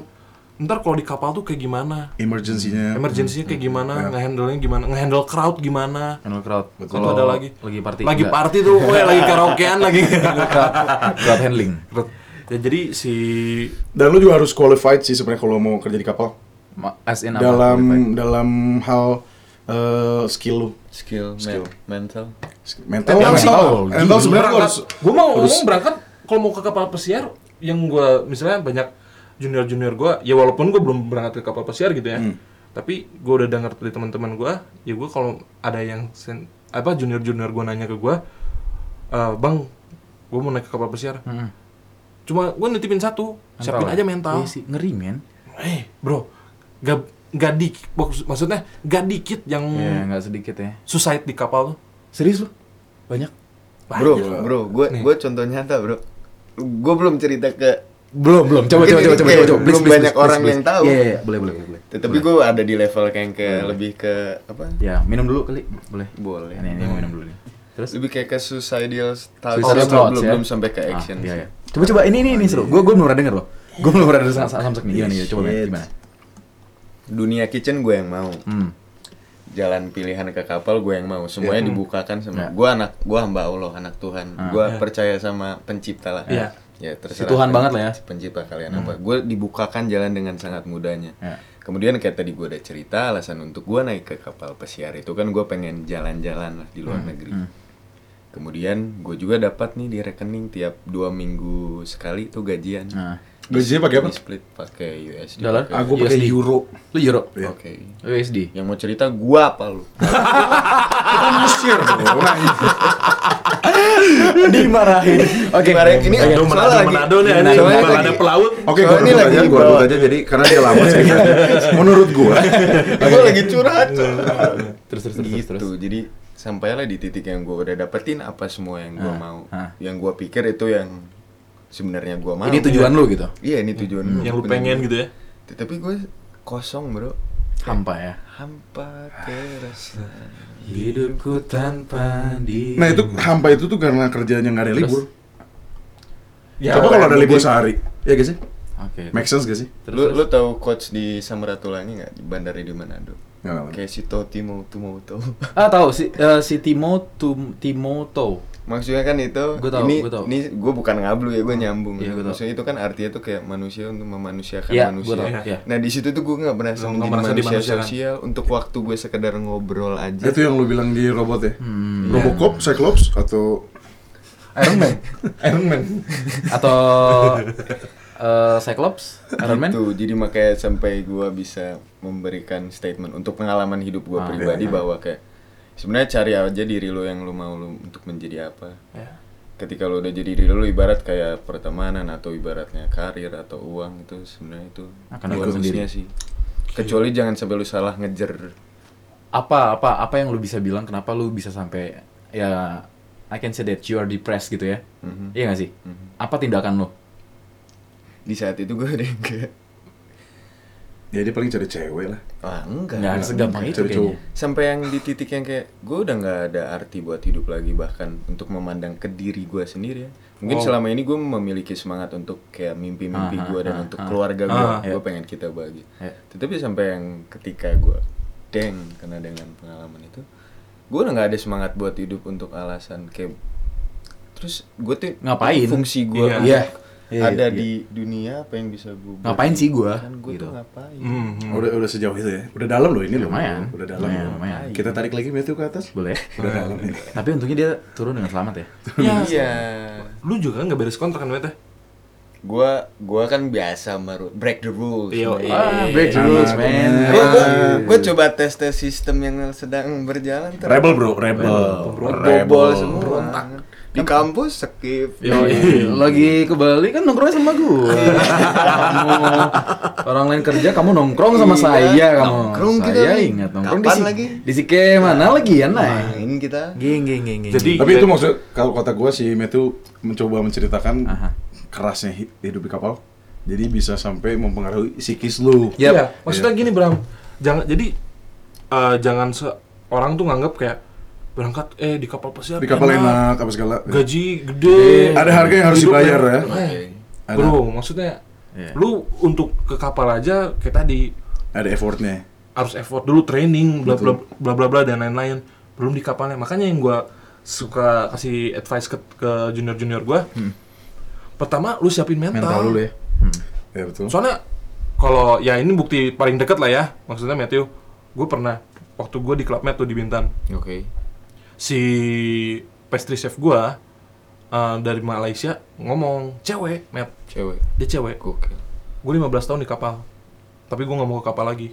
Speaker 4: ntar kalau di kapal tuh kayak gimana,
Speaker 3: Emergensinya.
Speaker 4: emergensinya kayak gimana, ngehandle-nya gimana, ngehandle crowd gimana.
Speaker 1: Handle crowd.
Speaker 4: Kalau ada lagi
Speaker 1: lagi party.
Speaker 4: Lagi
Speaker 1: enggak.
Speaker 4: party tuh, woy, lagi karaokean lagi.
Speaker 1: crowd handling.
Speaker 4: ya jadi si
Speaker 3: Dan lu juga harus qualified sih sebenarnya kalau mau kerja di kapal.
Speaker 1: Ma- As in apa?
Speaker 3: dalam dalam hal eh, skill lu,
Speaker 2: skill, men- mental
Speaker 3: mental,
Speaker 1: Mental,
Speaker 3: mental,
Speaker 1: gila.
Speaker 3: mental sebenarnya lu harus.
Speaker 4: gue mau ngomong berangkat kalau mau ke kapal pesiar yang gue misalnya banyak junior-junior gue ya walaupun gue belum berangkat ke kapal pesiar gitu ya tapi gue udah denger dari teman-teman gue ya gue kalau ada yang sen- apa junior-junior gue nanya ke gue bang gue mau naik ke kapal pesiar cuma gue nitipin satu siapin aja mental
Speaker 1: Iya sih, ngeri men.
Speaker 4: eh bro gak gak di maksudnya gak dikit yang
Speaker 1: Iya, nggak sedikit ya.
Speaker 4: suicide di kapal tuh
Speaker 1: Serius lu? Banyak.
Speaker 2: Bro, bro, gue gue contoh nyata, bro. Gue belum cerita ke
Speaker 1: Belum, belum. Coba
Speaker 2: Mungkin
Speaker 1: coba coba
Speaker 2: ini
Speaker 1: coba
Speaker 2: kayak
Speaker 1: coba. Please,
Speaker 2: belum
Speaker 1: please,
Speaker 2: banyak
Speaker 1: please,
Speaker 2: orang
Speaker 1: please.
Speaker 2: yang tahu.
Speaker 1: Iya, iya, iya. boleh, boleh, boleh, boleh.
Speaker 2: tapi gue ada di level kayak yang ke lebih ke apa?
Speaker 1: Ya, minum dulu kali. Boleh.
Speaker 2: Boleh.
Speaker 1: Ini ini mau minum dulu nih. Terus
Speaker 2: Lebih kayak ke suicidal thoughts,
Speaker 1: Suicidal
Speaker 2: belum,
Speaker 1: thoughts,
Speaker 2: belum,
Speaker 1: ya?
Speaker 2: belum sampai ke ya.
Speaker 1: Ah,
Speaker 2: action.
Speaker 1: iya, iya. Coba coba ini ini ini seru. Gue gue belum pernah denger loh. Gue belum pernah denger sam- sam- samsak nih. Gimana ya? Coba
Speaker 3: Shit.
Speaker 1: men, gimana?
Speaker 2: Dunia kitchen gue yang mau.
Speaker 1: Hmm.
Speaker 2: Jalan pilihan ke kapal gue yang mau. Semuanya dibukakan
Speaker 1: Ya.
Speaker 2: sama gue anak gue hamba Allah, anak Tuhan. Gue percaya sama pencipta lah.
Speaker 4: Iya.
Speaker 1: Ah.
Speaker 2: Ya,
Speaker 1: Si
Speaker 2: terserah.
Speaker 1: Tuhan
Speaker 2: kalian,
Speaker 1: banget lah ya.
Speaker 2: Pencipta kalian apa? Gue dibukakan jalan dengan sangat mudahnya.
Speaker 1: Ya.
Speaker 2: Kemudian kayak tadi gue udah cerita alasan untuk gue naik ke kapal pesiar itu kan gue pengen jalan-jalan lah di
Speaker 1: Hmm.
Speaker 2: luar negeri. Kemudian gue juga dapat nih di rekening tiap dua minggu sekali tuh gajian.
Speaker 1: Nah.
Speaker 3: Gajinya pakai apa?
Speaker 2: Di split pakai USD.
Speaker 1: Dollar?
Speaker 2: pakai-
Speaker 3: Ah, gue pakai
Speaker 1: USD.
Speaker 3: euro.
Speaker 1: Lu euro. Iya.
Speaker 2: Oke.
Speaker 1: USD.
Speaker 2: Yang mau cerita gue apa lu?
Speaker 3: Mesir.
Speaker 1: Dimarahin. Oke.
Speaker 2: Kemarin ini
Speaker 1: Oke.
Speaker 4: Aduh,
Speaker 2: soalnya
Speaker 4: Manado,
Speaker 2: lagi-
Speaker 4: Manado
Speaker 1: Iya,
Speaker 4: nih,
Speaker 2: soalnya
Speaker 4: anjing.
Speaker 2: lagi- Iya,
Speaker 4: Manado pelaut.
Speaker 3: Oke,
Speaker 2: Soalnya
Speaker 3: gue
Speaker 2: ini
Speaker 3: ini
Speaker 2: lagi
Speaker 3: lagi gue
Speaker 2: dibawa.
Speaker 3: rebut aja jadi karena dia lama ceritanya. Menurut gue.
Speaker 2: Gue lagi curhat.
Speaker 1: Terus terus terus terus.
Speaker 2: gitu. Iya. Jadi sampailah di titik yang gue udah dapetin apa semua yang gue
Speaker 1: Ah,
Speaker 2: mau.
Speaker 1: ah.
Speaker 2: Yang gue pikir itu yang sebenarnya gue mau.
Speaker 1: Ini tujuan lu gitu.
Speaker 2: Iya ini tujuan gue.
Speaker 4: Yang lu pengen gitu ya.
Speaker 2: Tapi gue kosong bro.
Speaker 1: Hampa ya.
Speaker 2: Hampa keresahan.
Speaker 1: Hidupku tanpa di.
Speaker 3: Nah itu hampa itu tuh karena kerjanya nggak ada libur.
Speaker 4: Ya,
Speaker 3: Coba kalau ada
Speaker 2: mungkin.
Speaker 3: libur sehari, ya gak sih?
Speaker 1: Oke.
Speaker 3: Make sense gak sih?
Speaker 2: Lu, lu tahu coach di Samratulangi nggak di bandara di Manado?
Speaker 3: Nggak apa-apa.
Speaker 2: Kayak si Toti mau tuh mau tuh.
Speaker 1: Ah tahu si eh, si Timo Tum- Timoto.
Speaker 2: Maksudnya kan itu
Speaker 1: Gua tahu,
Speaker 2: ini
Speaker 1: gua tahu.
Speaker 2: ini gue bukan ngablu ya gue nyambung.
Speaker 1: Iya, gua tahu.
Speaker 2: Maksudnya itu kan artinya tuh kayak manusia untuk memanusiakan
Speaker 1: Iya,
Speaker 2: manusia.
Speaker 1: gua tahu. Iya.
Speaker 2: Nah di situ tuh gue nggak merasa
Speaker 4: Nggak
Speaker 2: menjadi
Speaker 4: merasa
Speaker 2: manusia
Speaker 4: dimanusiakan.
Speaker 2: sosial untuk waktu gue sekedar ngobrol aja.
Speaker 3: Itu yang lu bilang di robot ya?
Speaker 1: Hmm.
Speaker 3: Robocop, Cyclops, atau
Speaker 1: Iron Man
Speaker 3: Iron Man?
Speaker 1: atau eh, Cyclops, Iron Man.
Speaker 2: Gitu, jadi makanya sampai gua bisa memberikan statement untuk pengalaman hidup gua
Speaker 1: Ah,
Speaker 2: pribadi bahwa kayak sebenarnya cari aja diri lo yang lo mau lo untuk menjadi apa.
Speaker 4: Ya.
Speaker 2: Ketika lo udah jadi diri lo ibarat kayak pertemanan atau ibaratnya karir atau uang itu sebenarnya itu
Speaker 1: Akan
Speaker 2: bukan
Speaker 1: ikut
Speaker 2: manusia
Speaker 1: sendiri.
Speaker 2: sih. Kecuali jangan sampai lo salah ngejer.
Speaker 1: Apa apa apa yang lu bisa bilang kenapa lu bisa sampai ya I can say that you are depressed gitu ya.
Speaker 2: Mhm.
Speaker 1: Iya gak sih? Apa tindakan lu?
Speaker 2: Di saat itu gua udah kayak
Speaker 3: Ya dia paling cari cewek lah.
Speaker 2: wah "Ah, enggak.
Speaker 1: Nggak harus segampang itu
Speaker 3: Cari
Speaker 1: kayaknya.
Speaker 3: cowok.
Speaker 2: sampai yang di titik yang kayak gue udah nggak ada arti buat hidup lagi bahkan untuk memandang ke diri gue sendiri ya mungkin
Speaker 1: Oh.
Speaker 2: selama ini gue memiliki semangat untuk kayak mimpi-mimpi
Speaker 1: Ah,
Speaker 2: gue
Speaker 1: ah,
Speaker 2: dan
Speaker 1: ah,
Speaker 2: untuk
Speaker 1: ah.
Speaker 2: keluarga gue
Speaker 4: Ah,
Speaker 2: gue
Speaker 1: iya.
Speaker 2: pengen kita bahagia
Speaker 1: Iya.
Speaker 2: tetapi sampai yang ketika gue deng karena dengan pengalaman itu gue udah nggak ada semangat buat hidup untuk alasan kayak terus gue tuh
Speaker 1: Ngapain?
Speaker 2: fungsi gue
Speaker 4: Iya.
Speaker 1: Iya. Iya, iya.
Speaker 2: ada di dunia apa yang bisa gue
Speaker 1: Ngapain sih gua?
Speaker 2: kan gue
Speaker 1: Gitu.
Speaker 2: tuh ngapain
Speaker 4: Hmm, hmm.
Speaker 3: Udah udah sejauh itu ya. Udah dalam loh ini loh.
Speaker 1: Lumayan.
Speaker 3: Udah dalam.
Speaker 1: Lumayan,
Speaker 3: loh.
Speaker 1: lumayan.
Speaker 3: Kita tarik lagi Matthew ke atas.
Speaker 1: Boleh.
Speaker 3: Udah dalam ini.
Speaker 1: Tapi untungnya dia turun dengan selamat ya.
Speaker 2: iya
Speaker 4: Lu juga nggak beres kontrak kan, Mete?
Speaker 2: gua gua kan biasa meru break the rules.
Speaker 4: Iya,
Speaker 2: man.
Speaker 4: iya. Ah,
Speaker 1: break the rules, man.
Speaker 2: Gua, gua,
Speaker 1: Ah.
Speaker 2: gua coba tes tes sistem yang sedang berjalan ter
Speaker 3: Rebel bro, rebel.
Speaker 2: bobol semua. Di kampus skip.
Speaker 1: Yo, lagi ke Bali kan nongkrongnya sama gue. kamu orang lain kerja kamu nongkrong sama
Speaker 2: Iya,
Speaker 1: saya kamu.
Speaker 2: nongkrong kita
Speaker 1: saya
Speaker 2: nih.
Speaker 1: ingat nongkrong di
Speaker 2: Kapan
Speaker 1: si-
Speaker 2: lagi? Iya.
Speaker 1: Di sike mana lagi ya naik?
Speaker 2: Main kita.
Speaker 1: Geng geng geng geng.
Speaker 4: Jadi
Speaker 3: Tapi itu maksud kalau kata gue si Matthew mencoba menceritakan
Speaker 1: Aha.
Speaker 3: kerasnya hi- hidup di kapal. Jadi bisa sampai mempengaruhi psikis lu.
Speaker 1: Yap.
Speaker 4: Iya, maksudnya gini Bram, jangan jadi eh, jangan se orang tuh nganggap kayak berangkat eh di kapal pesiar
Speaker 3: Di kapal enak apa segala.
Speaker 4: gaji gede,
Speaker 3: Ada harga yang harus
Speaker 4: hidup
Speaker 3: dibayar
Speaker 4: enak.
Speaker 3: ya.
Speaker 4: Eh,
Speaker 3: Ada.
Speaker 4: Bro, maksudnya
Speaker 1: Iya.
Speaker 4: lu untuk ke kapal aja kayak tadi
Speaker 3: Ada effortnya.
Speaker 4: harus effort dulu training bla bla bla bla bla dan lain-lain belum di kapalnya makanya yang gua suka kasih advice ke, ke junior junior gua pertama lu siapin
Speaker 1: Hmm.
Speaker 4: mental,
Speaker 1: mental dulu ya.
Speaker 3: Ya betul.
Speaker 4: Hmm. Soalnya kalau ya ini bukti paling deket lah ya, maksudnya Matthew, gue pernah waktu gue di klubnya tuh di Bintan,
Speaker 2: Oke.
Speaker 4: si pastry chef gue dari Malaysia ngomong cewek, Matt,
Speaker 2: Cewek.
Speaker 4: dia cewek.
Speaker 2: Gokil.
Speaker 4: Gue 15 tahun di kapal, tapi gue nggak mau ke kapal lagi.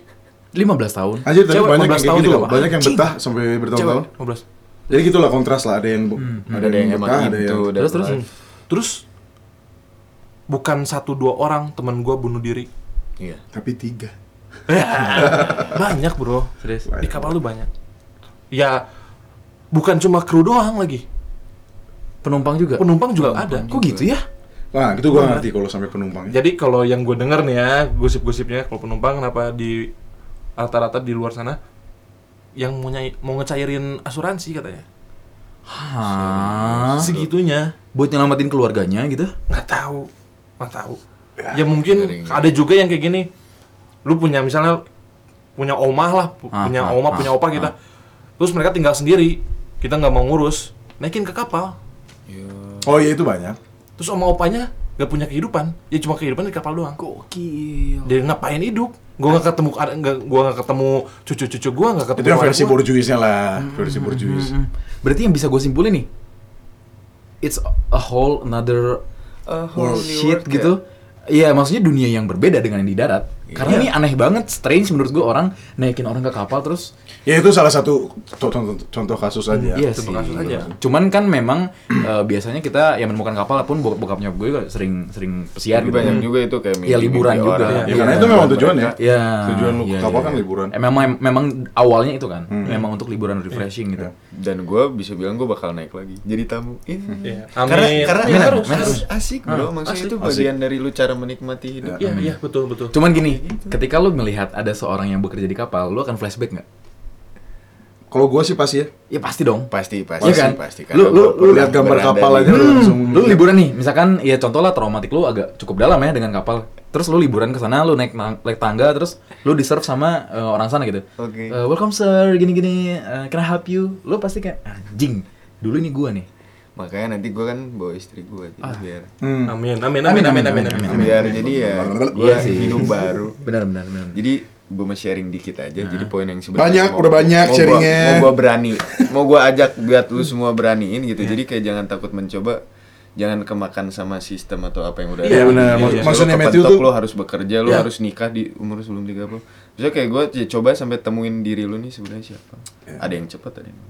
Speaker 1: 15 tahun.
Speaker 3: Anjir, tapi
Speaker 4: Cewek
Speaker 3: banyak yang
Speaker 4: 15
Speaker 3: kayak
Speaker 4: tahun
Speaker 3: gitu
Speaker 4: di
Speaker 3: loh.
Speaker 4: kapal.
Speaker 3: Banyak yang betah sampai bertahun-tahun.
Speaker 4: 15.
Speaker 3: Jadi gitulah kontras lah. Ada yang bu-
Speaker 4: Hmm.
Speaker 1: Hmm,
Speaker 3: ada,
Speaker 2: Ada yang emang
Speaker 3: betah, ada
Speaker 2: itu
Speaker 3: yang
Speaker 2: udah
Speaker 1: Terus, terus.
Speaker 2: live.
Speaker 4: Terus bukan satu dua orang teman gue bunuh diri,
Speaker 2: Iya.
Speaker 3: tapi tiga.
Speaker 4: banyak bro.
Speaker 1: Serius.
Speaker 4: di kapal tuh banyak ya bukan cuma kru doang lagi
Speaker 1: Penumpang juga.
Speaker 4: penumpang juga ada
Speaker 1: Kok gitu ya?
Speaker 3: Nah, itu gua ngerti kalau sampai ya. penumpangnya.
Speaker 4: jadi kalau yang gue denger nih ya gosip-gosipnya kalau penumpang kenapa di rata-rata di luar sana yang mau nyai, mau ngecairin asuransi katanya
Speaker 1: Hah.
Speaker 4: segitunya
Speaker 1: Buat nyelamatin keluarganya gitu?
Speaker 4: nggak tahu nggak tahu ya mungkin ada juga yang kayak gini lu punya misalnya punya omah lah pu-
Speaker 1: Ah,
Speaker 4: punya
Speaker 1: ah, ah,
Speaker 4: oma punya opa kita terus mereka tinggal sendiri kita nggak mau ngurus naikin ke kapal
Speaker 3: Oh iya itu banyak.
Speaker 4: terus oma opanya nggak punya kehidupan ya cuma kehidupan di kapal doang
Speaker 1: Gokil.
Speaker 4: dia ngapain hidup gua nggak ketemu nggak gua nggak ketemu cucu-cucu gua nggak ketemu
Speaker 3: Itu yang
Speaker 4: keluarga
Speaker 3: versi
Speaker 4: gua. Hmm.
Speaker 3: borjuisnya lah, versi borjuis.
Speaker 1: Mm. Berarti yang bisa gue simpulin nih, it's a whole another shit
Speaker 3: ya?
Speaker 1: gitu. Iya, maksudnya dunia yang berbeda dengan yang di darat.
Speaker 3: Iya.
Speaker 1: Karena ini aneh banget, strange menurut gue orang naikin orang ke kapal terus.
Speaker 3: Ya itu salah satu co- contoh, contoh kasus aja.
Speaker 1: Iya
Speaker 4: itu
Speaker 1: sih.
Speaker 4: kasus aja.
Speaker 1: Cuman kan memang eh, biasanya kita yang menemukan kapal pun bokap bokap nyokap gue juga sering sering pesiar
Speaker 2: Tapi
Speaker 1: gitu.
Speaker 2: banyak juga itu kayak
Speaker 1: Iya, liburan
Speaker 2: mimpi
Speaker 1: juga.
Speaker 2: orang.
Speaker 1: Iya,
Speaker 3: Ya, karena itu memang tujuan ya.
Speaker 1: Iya.
Speaker 3: Tujuan lu ke
Speaker 1: iya,
Speaker 3: kapal
Speaker 1: iya,
Speaker 3: kan
Speaker 1: iya.
Speaker 3: liburan. Hmm. Iya.
Speaker 1: Eh, memang memang awalnya itu kan. Memang untuk liburan refreshing gitu.
Speaker 2: Dan gue bisa bilang gue bakal naik lagi jadi tamu. Ih.
Speaker 4: Iya.
Speaker 2: Karena
Speaker 4: Amin.
Speaker 2: karena
Speaker 1: Amin,
Speaker 2: harus,
Speaker 1: amin.
Speaker 2: harus asik bro. Maksudnya itu bagian dari lu cara menikmati hidup.
Speaker 4: iya iya betul betul
Speaker 1: Cuman gini, ketika lu melihat ada seorang yang bekerja di kapal, lu akan flashback nggak?
Speaker 3: Kalau gua sih pasti ya.
Speaker 1: Ya pasti dong.
Speaker 2: Pasti pasti
Speaker 1: Iya kan?
Speaker 2: pasti.
Speaker 1: Lu- lu-
Speaker 2: gua
Speaker 1: lu
Speaker 2: pernah
Speaker 3: lihat gambar
Speaker 2: berada
Speaker 3: kapal
Speaker 2: di-
Speaker 3: aja lu langsung.
Speaker 1: Hmm. Lu liburan nih, misalkan ya contoh lah traumatik lu agak cukup dalam ya dengan kapal. Terus lu liburan ke sana, lu naik nang- naik tangga, terus lu diserve sama eh, orang sana gitu.
Speaker 2: Oke.
Speaker 1: Eh, welcome sir, gini-gini, eh, can I help you? Lu pasti kayak anjing. Dulu nih gua nih.
Speaker 2: Makanya nanti gue kan bawa istri gue jadi biar
Speaker 3: Hmm.
Speaker 4: amin amin amin amin amin amin
Speaker 2: biar jadi ya gue
Speaker 1: sih.
Speaker 2: hidup baru.
Speaker 1: Benar benar benar.
Speaker 2: Jadi gue mau sharing dikit aja. Jadi poin yang sebenarnya
Speaker 3: Banyak,
Speaker 2: mau-
Speaker 3: udah banyak
Speaker 2: mau gua-
Speaker 3: sharingnya.
Speaker 2: Mau gue berani, mau gue ajak biar lu semua beraniin gitu. Jadi kayak jangan takut mencoba, jangan kemakan sama sistem atau apa yang udah
Speaker 4: Iya,
Speaker 2: ada.
Speaker 4: benar.
Speaker 2: Jadi
Speaker 4: Maksud-
Speaker 2: lu
Speaker 3: maksudnya Matthew
Speaker 2: kepentok,
Speaker 3: tuh-
Speaker 2: lu harus bekerja, lu
Speaker 4: Iya.
Speaker 2: harus nikah di umur sebelum 30. Maksudnya kayak gue coba sampai temuin diri lu nih sebenarnya siapa. Ada yang cepat, ada yang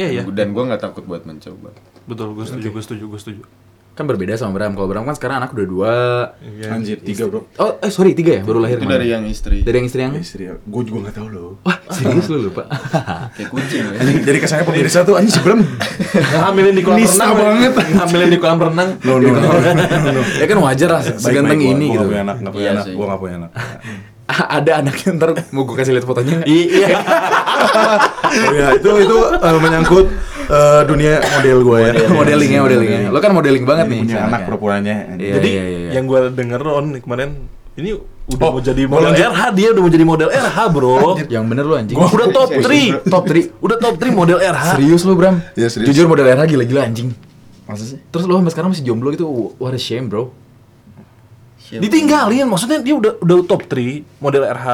Speaker 4: iya iya
Speaker 2: dan gue nggak takut buat mencoba.
Speaker 4: betul gue setuju gue setuju gue setuju
Speaker 1: Kan berbeda sama Bram. Kalau Bram kan sekarang anak udah dua.
Speaker 4: Iya.
Speaker 3: Anjir, tiga bro.
Speaker 1: Oh, eh sorry, tiga ya baru lahir.
Speaker 2: Itu
Speaker 1: kemarin.
Speaker 2: dari yang istri.
Speaker 1: dari yang istri yang. Oh,
Speaker 3: Istri, ya. gua juga nggak tahu loh.
Speaker 1: Wah, serius lu lupa.
Speaker 2: Kayak kucing
Speaker 1: iya.
Speaker 2: ya.
Speaker 3: Jadi, jadi kesannya pemirsa tuh anjing sebelum
Speaker 4: Hamilin di kolam
Speaker 3: Nista
Speaker 4: renang.
Speaker 3: banget.
Speaker 4: Hamilin di kolam renang.
Speaker 3: no no no.
Speaker 1: ya kan wajar lah seganteng ini gitu.
Speaker 3: Gua nggak punya anak, nggak punya
Speaker 2: Iya
Speaker 3: anak,
Speaker 2: sih.
Speaker 3: gua nggak punya anak.
Speaker 1: ada anaknya ntar mau gue kasih lihat fotonya
Speaker 4: I- Iya.
Speaker 3: Oh ya itu itu eh, menyangkut eh, dunia model gua ya.
Speaker 1: modeling ya modeling ya lo kan modeling banget nih
Speaker 3: Punya anak
Speaker 1: sekarang ya.
Speaker 3: perempuannya.
Speaker 1: Iya,
Speaker 4: Jadi
Speaker 1: iya, iya.
Speaker 4: yang gue denger on kemarin ini udah
Speaker 3: Oh,
Speaker 4: mau jadi
Speaker 3: mau
Speaker 4: model
Speaker 3: lanjut. Gitu.
Speaker 4: RH dia udah mau jadi model RH bro.
Speaker 1: Oh, yang bener lo anjing
Speaker 4: udah
Speaker 3: Iya,
Speaker 4: top
Speaker 2: Serius,
Speaker 4: 3
Speaker 1: top 3
Speaker 4: udah top 3 model RH.
Speaker 1: serius lo Bram
Speaker 3: Iya, serius.
Speaker 1: jujur model era gila-gila anjing
Speaker 3: Masa sih?
Speaker 1: terus lo sampai sekarang masih jomblo gitu what a shame bro
Speaker 4: Ditinggalin maksudnya dia udah udah top 3 model RH.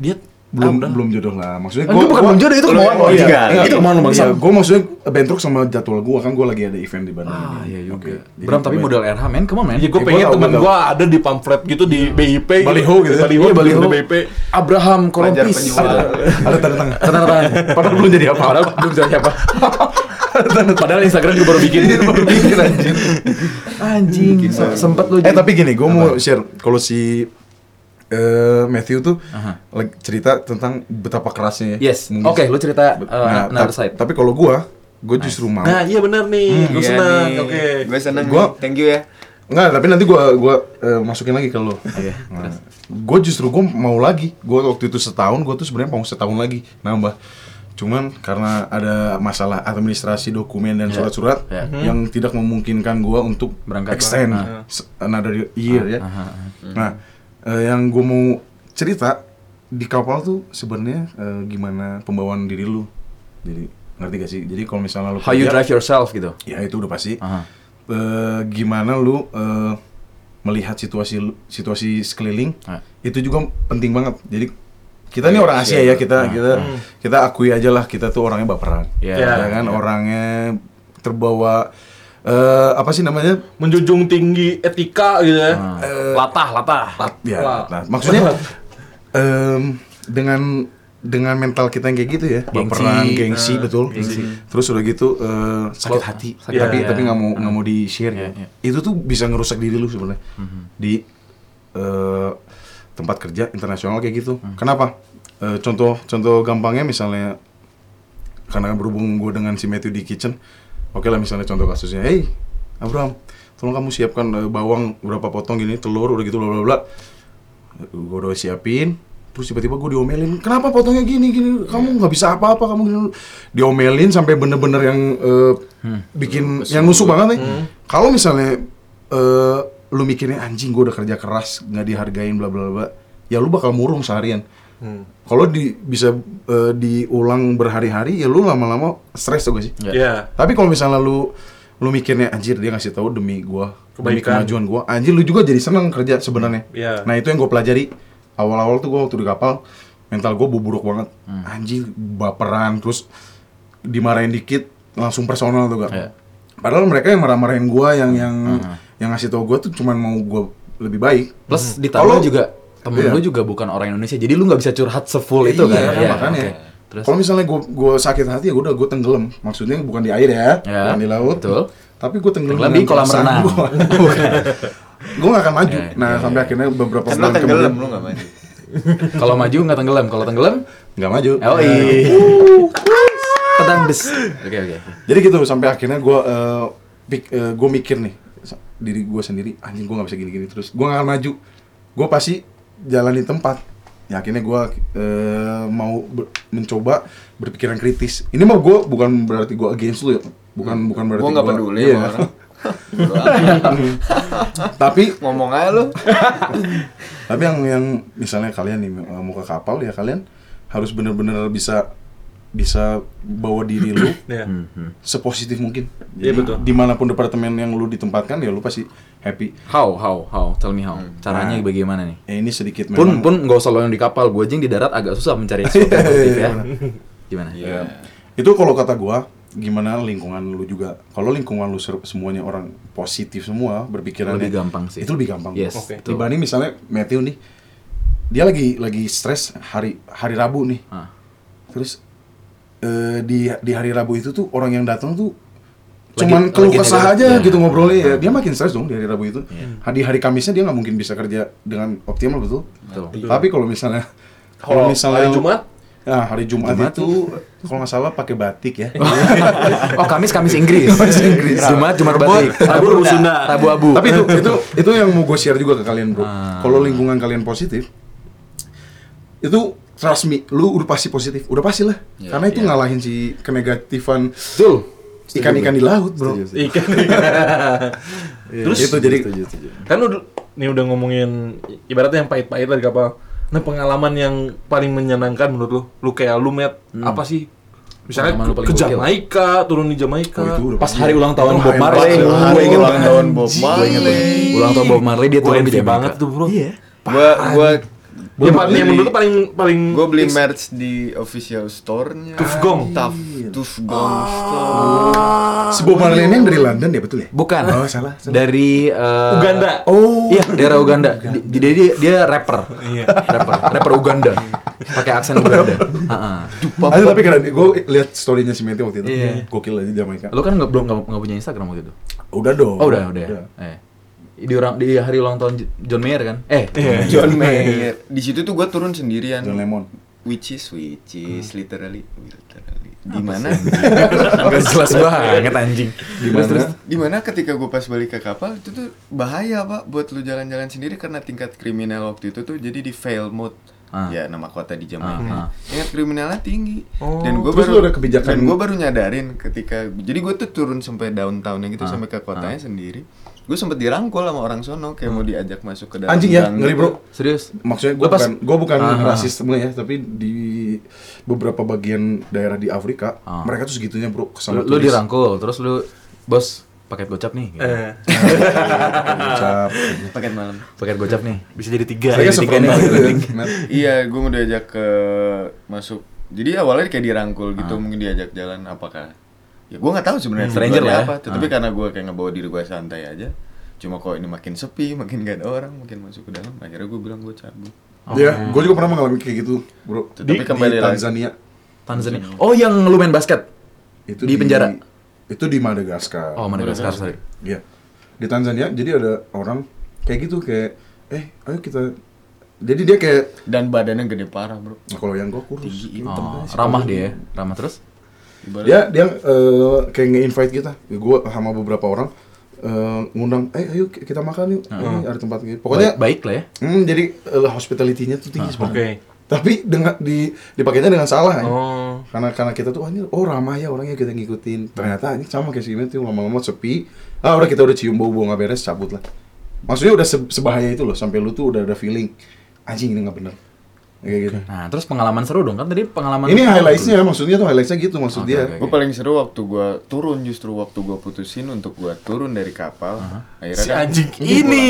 Speaker 4: Dia
Speaker 3: belum
Speaker 4: ah, udah.
Speaker 3: belum jodoh lah maksudnya
Speaker 1: Ah, itu bukan belum jodoh, itu
Speaker 3: Lu-
Speaker 1: kemauan lo.
Speaker 3: iya,
Speaker 1: Iya,
Speaker 3: iya,
Speaker 1: itu kemauan lo, bangsa.
Speaker 3: gue maksudnya bentrok sama jadwal gue kan gue lagi ada event di Bandung
Speaker 1: ah
Speaker 3: ini.
Speaker 1: iya
Speaker 3: Oke,
Speaker 1: juga
Speaker 3: jadi
Speaker 1: Bram tapi
Speaker 3: gua-
Speaker 1: model RH men come on men
Speaker 4: Ya gue
Speaker 3: Ya, gua
Speaker 4: pengen
Speaker 3: tahu,
Speaker 4: temen
Speaker 3: gua tahu. Hmm.
Speaker 4: gue ada di pamflet gitu di BIP
Speaker 3: Baliho gitu ya.
Speaker 4: Baliho,
Speaker 1: Iya,
Speaker 4: baliho.
Speaker 1: Baliho.
Speaker 4: BIP
Speaker 1: Abraham
Speaker 2: Pelajar
Speaker 1: Kolompis
Speaker 2: penjual.
Speaker 1: ada
Speaker 3: ada tanda tangan
Speaker 1: tanda tangan padahal belum jadi apa padahal belum jadi apa padahal Instagram juga baru
Speaker 3: Iya,
Speaker 1: bikin baru bikin anjing anjing se- sempet lo
Speaker 3: eh tapi gini gue mau share kalau si eh, Matthew tuh lagi cerita tentang betapa kerasnya ya.
Speaker 1: yes
Speaker 3: Mungkin-
Speaker 1: oke lo cerita uh,
Speaker 3: Nah,
Speaker 1: another
Speaker 3: ta-
Speaker 1: side
Speaker 3: tapi kalau gue gue justru mau
Speaker 4: Nah iya bener nih, gue senang, oke
Speaker 2: Gue seneng.
Speaker 3: Hmm, Gua-
Speaker 2: nih. Thank you ya.
Speaker 3: Enggak, tapi nanti gua gua eh, masukin lagi ke lo. Iya. Gua justru gua mau lagi. Gua waktu itu setahun, gua tuh sebenarnya mau setahun lagi nambah. Cuman karena ada masalah administrasi dokumen dan surat-surat
Speaker 1: Iya.
Speaker 3: yang tidak memungkinkan gua untuk
Speaker 1: Berangkat.
Speaker 3: extend
Speaker 1: Ah.
Speaker 3: se- another year ya. Nah, eh, yang gua mau cerita di kapal tuh sebenarnya eh, gimana pembawaan diri lu. Jadi ngerti gak sih? Jadi kalau misalnya lu
Speaker 1: how you
Speaker 3: kerja-
Speaker 1: drive yourself gitu
Speaker 3: Ya itu udah pasti.
Speaker 1: Aha.
Speaker 3: Eh, gimana lu eh, melihat situasi lu- situasi sekeliling?
Speaker 1: Ah. Iya,
Speaker 3: Itu juga penting banget. Jadi kita nih orang Asia ya kita kita kita akui aja lah kita tuh orangnya
Speaker 1: Ah.
Speaker 3: baperan.
Speaker 1: Iya.
Speaker 3: Ya kan orangnya terbawa eh, apa sih namanya?
Speaker 4: Menjunjung tinggi etika gitu
Speaker 3: Ah,
Speaker 4: ya
Speaker 1: latah latah
Speaker 3: Lat, ya,
Speaker 4: Wah.
Speaker 3: lat. Maksudnya em, dengan dengan mental kita yang kayak gitu ya, baperan, gengsi, betul. Terus udah gitu eh, sakit hati, Iya,
Speaker 1: Sakit
Speaker 3: tapi
Speaker 1: hati.
Speaker 3: tapi nggak mau nggak mau di share ya. Itu tuh bisa ngerusak diri lu sebenarnya di eh, tempat Mhm. kerja internasional kayak gitu. Kenapa? Eh, contoh contoh gampangnya misalnya karena berhubung gue dengan si Matthew di kitchen oke lah misalnya contoh kasusnya hey Abraham tolong kamu siapkan eh, bawang berapa potong gini telur udah gitu bla bla bla gue udah siapin terus tiba-tiba gue diomelin kenapa potongnya gini gini kamu nggak bisa apa-apa kamu gini diomelin sampai bener-bener yang eh, bikin yang nusuk banget nih kalau misalnya eh, lu mikirnya anjing gue udah kerja keras nggak dihargain bla bla bla ya lu bakal murung seharian kalau di bisa eh, diulang berhari-hari ya lu lama-lama stres tuh gak sih
Speaker 1: Ya.
Speaker 4: Iya.
Speaker 3: tapi kalau misalnya lu lu mikirnya anjir dia ngasih tahu demi gua, demi
Speaker 4: Kebaikan.
Speaker 3: kemajuan gua. Anjir lu juga jadi seneng kerja sebenarnya.
Speaker 4: Iya.
Speaker 3: Nah, itu yang gua pelajari awal-awal tuh gua waktu di kapal mental gua buruk banget. Anjir baperan terus dimarahin dikit langsung personal tuh gak.
Speaker 1: Iya.
Speaker 3: Padahal mereka yang marah-marahin gua yang yang yang ngasih tahu gua tuh cuman mau gua lebih baik.
Speaker 1: Plus ditambah
Speaker 3: Hmm. Kalau-
Speaker 1: juga temen
Speaker 3: Iya.
Speaker 1: lu juga bukan orang Indonesia, jadi lu nggak bisa curhat sefull itu kan?
Speaker 3: Iya,
Speaker 1: Iya,
Speaker 3: makanya.
Speaker 1: oke. Terus
Speaker 3: Kalau misalnya gue gue sakit hati ya gue udah gue tenggelam. Maksudnya bukan di air ya,
Speaker 1: Ya,
Speaker 3: bukan di laut.
Speaker 1: betul.
Speaker 3: Tapi gue tenggelam,
Speaker 1: Tenggelam di kolam renang.
Speaker 3: gue gak akan maju.
Speaker 1: Ya,
Speaker 3: nah sampai akhirnya beberapa
Speaker 2: Kan lo
Speaker 3: bulan
Speaker 2: tenggelam, lo
Speaker 3: kemudian
Speaker 2: gak mandi.
Speaker 1: kalau maju nggak tenggelam, kalau tenggelam,
Speaker 3: nggak maju.
Speaker 1: oh iya. Pedang des. Oke oke.
Speaker 3: Jadi gitu sampai akhirnya eh, gue gue mikir nih sa- diri gue sendiri anjing gue nggak bisa gini-gini terus gue gak akan maju. Gue pasti jalan di tempat. Ya akhirnya gue mau ber- mencoba berpikiran kritis. Ini mah gue bukan berarti gue against lu ya. Bukan bukan berarti
Speaker 2: Gue gak
Speaker 3: gua-
Speaker 2: Hmm. peduli kan.
Speaker 3: Iya.
Speaker 2: sama orang. Bodo amat.
Speaker 3: tapi
Speaker 2: Ngomong aja lo.
Speaker 3: tapi yang yang misalnya kalian nih eh, mau ke kapal ya kalian harus bener-bener bisa bisa bawa diri lu
Speaker 4: Iya.
Speaker 3: sepositif mungkin.
Speaker 4: Iya, betul.
Speaker 3: Dimanapun departemen yang lu ditempatkan ya lu pasti happy.
Speaker 1: How how how? Tell me how. Caranya
Speaker 3: Nah.
Speaker 1: bagaimana nih?
Speaker 3: Ya ini sedikit
Speaker 1: Pun
Speaker 3: memang.
Speaker 1: pun nggak usah lo yang di kapal, gue jeng di darat agak susah mencari sesuatu yang positif
Speaker 3: Iya.
Speaker 1: ya. Gimana?
Speaker 2: Iya.
Speaker 3: Ya. Itu kalau kata gua gimana lingkungan lu juga. Kalau lingkungan lu ser- semuanya orang positif semua berpikirannya
Speaker 1: Lebih gampang sih.
Speaker 3: Iya. Itu lebih gampang.
Speaker 1: Yes.
Speaker 4: Oke.
Speaker 1: betul.
Speaker 3: Dibanding misalnya Matthew nih dia lagi lagi stres hari hari Rabu nih.
Speaker 1: Ah.
Speaker 3: Terus eh, di di hari Rabu itu tuh orang yang datang tuh
Speaker 1: Lagi-
Speaker 3: cuman keluh
Speaker 1: lagi
Speaker 3: kesah
Speaker 1: negatif.
Speaker 3: aja
Speaker 1: Ya.
Speaker 3: gitu ngobrolnya ya. Dia makin stres dong di hari Rabu itu.
Speaker 1: Iya.
Speaker 3: Di hari Kamisnya dia nggak mungkin bisa kerja dengan optimal betul.
Speaker 1: Betul.
Speaker 3: Tapi kalau misalnya
Speaker 4: Kalau
Speaker 3: kalau misalnya
Speaker 4: hari Jumat?
Speaker 3: Nah, hari Jumat,
Speaker 1: Jumat
Speaker 3: itu kalau nggak salah pakai batik ya.
Speaker 1: oh Kamis Kamis Inggris. Jumat Jumat batik.
Speaker 4: Rabu, Rabu Sunda.
Speaker 1: Rabu abu.
Speaker 3: Tapi itu itu itu yang mau gue share juga ke kalian bro.
Speaker 1: Ah.
Speaker 3: Kalau lingkungan kalian positif, itu trust me, lu udah pasti positif, udah pasti lah.
Speaker 1: Iya,
Speaker 3: Karena itu
Speaker 1: iya.
Speaker 3: ngalahin si kenegatifan
Speaker 1: betul.
Speaker 3: ikan-ikan di laut bro.
Speaker 1: Setuju, setuju.
Speaker 4: Ikan.
Speaker 1: Iya,
Speaker 3: Terus itu jadi
Speaker 1: Setuju, setuju.
Speaker 4: kan lu du- nih udah ngomongin i- ibaratnya yang pahit-pahit lah di kapal. Nah pengalaman yang paling menyenangkan menurut lu, lu kayak lu met apa sih? Misalnya
Speaker 1: Hmm. Pengalaman lu
Speaker 4: ke,
Speaker 1: paling
Speaker 4: ke
Speaker 1: gokil.
Speaker 4: Jamaika, turun di Jamaika.
Speaker 3: Oh, itu udah
Speaker 1: Pas
Speaker 3: pasti.
Speaker 1: hari ulang tahun
Speaker 3: Itu
Speaker 1: Bob
Speaker 3: highlight
Speaker 1: Marley.
Speaker 3: banget.
Speaker 1: Wah,
Speaker 2: Gue
Speaker 1: gua
Speaker 2: inget
Speaker 1: ingat
Speaker 2: ulang tahun Bob
Speaker 4: Iya.
Speaker 2: Marley.
Speaker 1: Ulang tahun Bob Marley dia
Speaker 4: Gue
Speaker 1: turun di
Speaker 4: envy
Speaker 1: Jamaika.
Speaker 4: banget tuh bro. Iya.
Speaker 2: Gue gue
Speaker 4: Yang, paling, yang menurut lu paling paling
Speaker 2: gue beli merch di official store-nya.
Speaker 4: Tufgong.
Speaker 2: Tuf, Tufgong store.
Speaker 3: Sebuah Ah. Marley ini yang dari London ya betul ya?
Speaker 1: Bukan.
Speaker 3: Oh salah. salah.
Speaker 1: Dari eh,
Speaker 4: Uganda.
Speaker 3: Oh.
Speaker 1: Iya, daerah Uganda. Di- di- Dia, dia, dia rapper.
Speaker 4: Iya.
Speaker 1: Rapper, rapper Uganda. Pakai aksen Uganda. Heeh.
Speaker 3: Aduh, tapi keren, gue lihat story-nya si Mete waktu itu
Speaker 1: Iya.
Speaker 3: Gokil aja Jamaika
Speaker 1: Lu kan nggak belum nggak nggak punya Instagram waktu itu.
Speaker 3: Udah dong
Speaker 1: Oh, udah, udah. Eh. Di orang di hari ulang tahun J- John Mayer kan? Eh,
Speaker 3: Iya.
Speaker 2: John Mayer. Di situ tuh gue turun sendirian.
Speaker 3: John Lemon
Speaker 2: Which is which is literally literally. Di mana?
Speaker 1: nggak jelas banget anjing.
Speaker 3: Gimana?
Speaker 2: Dimana ketika gue pas balik ke kapal itu tuh bahaya pak buat lu jalan-jalan sendiri karena tingkat kriminal waktu itu tuh jadi di fail mode
Speaker 1: Ah.
Speaker 2: ya nama kota di
Speaker 1: Ah, ah.
Speaker 2: Jamaika tingkat kriminalnya tinggi
Speaker 4: Oh.
Speaker 2: dan gue
Speaker 3: Terus
Speaker 2: baru
Speaker 3: lu ada kebijakan-
Speaker 2: dan gue baru nyadarin ketika jadi gue tuh turun sampai downtownnya
Speaker 1: Ah.
Speaker 2: gitu sampai ke kotanya sendiri gue sempet dirangkul sama orang
Speaker 1: Ah.
Speaker 2: sono kayak mau diajak masuk ke dalam
Speaker 3: Anjing ya,
Speaker 2: gang
Speaker 3: ngeri
Speaker 2: gitu.
Speaker 3: bro
Speaker 1: Serius?
Speaker 3: Maksudnya gue
Speaker 1: Lu pas- Ah,
Speaker 3: bukan, gua bukan
Speaker 1: Aha.
Speaker 3: rasisme ya Tapi di beberapa bagian daerah di Afrika
Speaker 1: Ah.
Speaker 3: Mereka tuh segitunya bro
Speaker 1: Lu,
Speaker 3: sama
Speaker 1: lu
Speaker 3: turis.
Speaker 1: dirangkul, terus lu bos paket gocap nih. gitu.
Speaker 4: Eh,
Speaker 3: Iya, Ucap.
Speaker 2: gitu. paket malam
Speaker 1: Paket gocap nih.
Speaker 4: bisa jadi
Speaker 1: Iya,
Speaker 4: tiga.
Speaker 3: Iya, Saya
Speaker 4: jadi tiga
Speaker 3: sefrontal
Speaker 4: nih.
Speaker 3: gitu. Net.
Speaker 2: iya gue mau diajak ke masuk jadi awalnya kayak dirangkul gitu
Speaker 4: Ah.
Speaker 2: mungkin diajak jalan apakah ya gue nggak tahu sebenarnya
Speaker 1: Hmm, stranger
Speaker 2: tujuannya
Speaker 1: lah ya.
Speaker 2: apa tapi
Speaker 4: Ah.
Speaker 2: karena gue kayak ngebawa diri gue santai aja cuma kok ini makin sepi makin gak ada orang makin masuk ke dalam akhirnya gue bilang gue cabut
Speaker 1: Oh.
Speaker 3: Iya, gue juga pernah mengalami kayak gitu bro
Speaker 2: Tapi kembali lagi.
Speaker 3: Tanzania
Speaker 1: Tanzania. Oh, yang lu main basket.
Speaker 3: itu
Speaker 1: Di penjara?
Speaker 3: Itu di Madagaskar
Speaker 1: Oh, Madagaskar, sorry.
Speaker 3: Iya. Di Tanzania jadi ada orang kayak gitu kayak eh ayo kita jadi dia kayak
Speaker 2: dan badannya gede parah bro
Speaker 3: nah, kalau yang gue kurus
Speaker 2: Tinggi,
Speaker 3: hitam
Speaker 1: Oh,
Speaker 3: guys.
Speaker 1: ramah dia, ya. ramah terus.
Speaker 3: Dia dia eh, kayak nge-invite kita. Gue sama beberapa orang eh, ngundang, eh ayo ki- kita makan yuk. Eh, ada tempat gitu. Pokoknya
Speaker 1: baik, baik lah ya.
Speaker 3: hmm, jadi eh, hospitality-nya tuh tinggi sebenarnya.
Speaker 4: Oke.
Speaker 3: Tapi dengan di dipakainya dengan salah. ya.
Speaker 4: Oh.
Speaker 3: Karena karena kita tuh wah ini oh ramah ya orangnya kita ngikutin. Ternyata ini sama kayak si Imet tuh lama-lama sepi. Ah udah kita udah cium bau-bau nggak beres cabut lah. Maksudnya udah se- sebahaya itu loh sampai lu tuh udah ada feeling anjing ini nggak bener. Kayak gitu.
Speaker 1: Nah, terus pengalaman seru dong kan tadi pengalaman
Speaker 3: Ini highlightsnya maksudnya tuh highlightsnya gitu maksud dia.
Speaker 4: Ya.
Speaker 1: oke.
Speaker 2: Gue paling seru waktu gue turun justru waktu gue putusin untuk gue turun dari kapal. Akhirnya
Speaker 4: si
Speaker 2: kan-
Speaker 4: anjing Iya ini,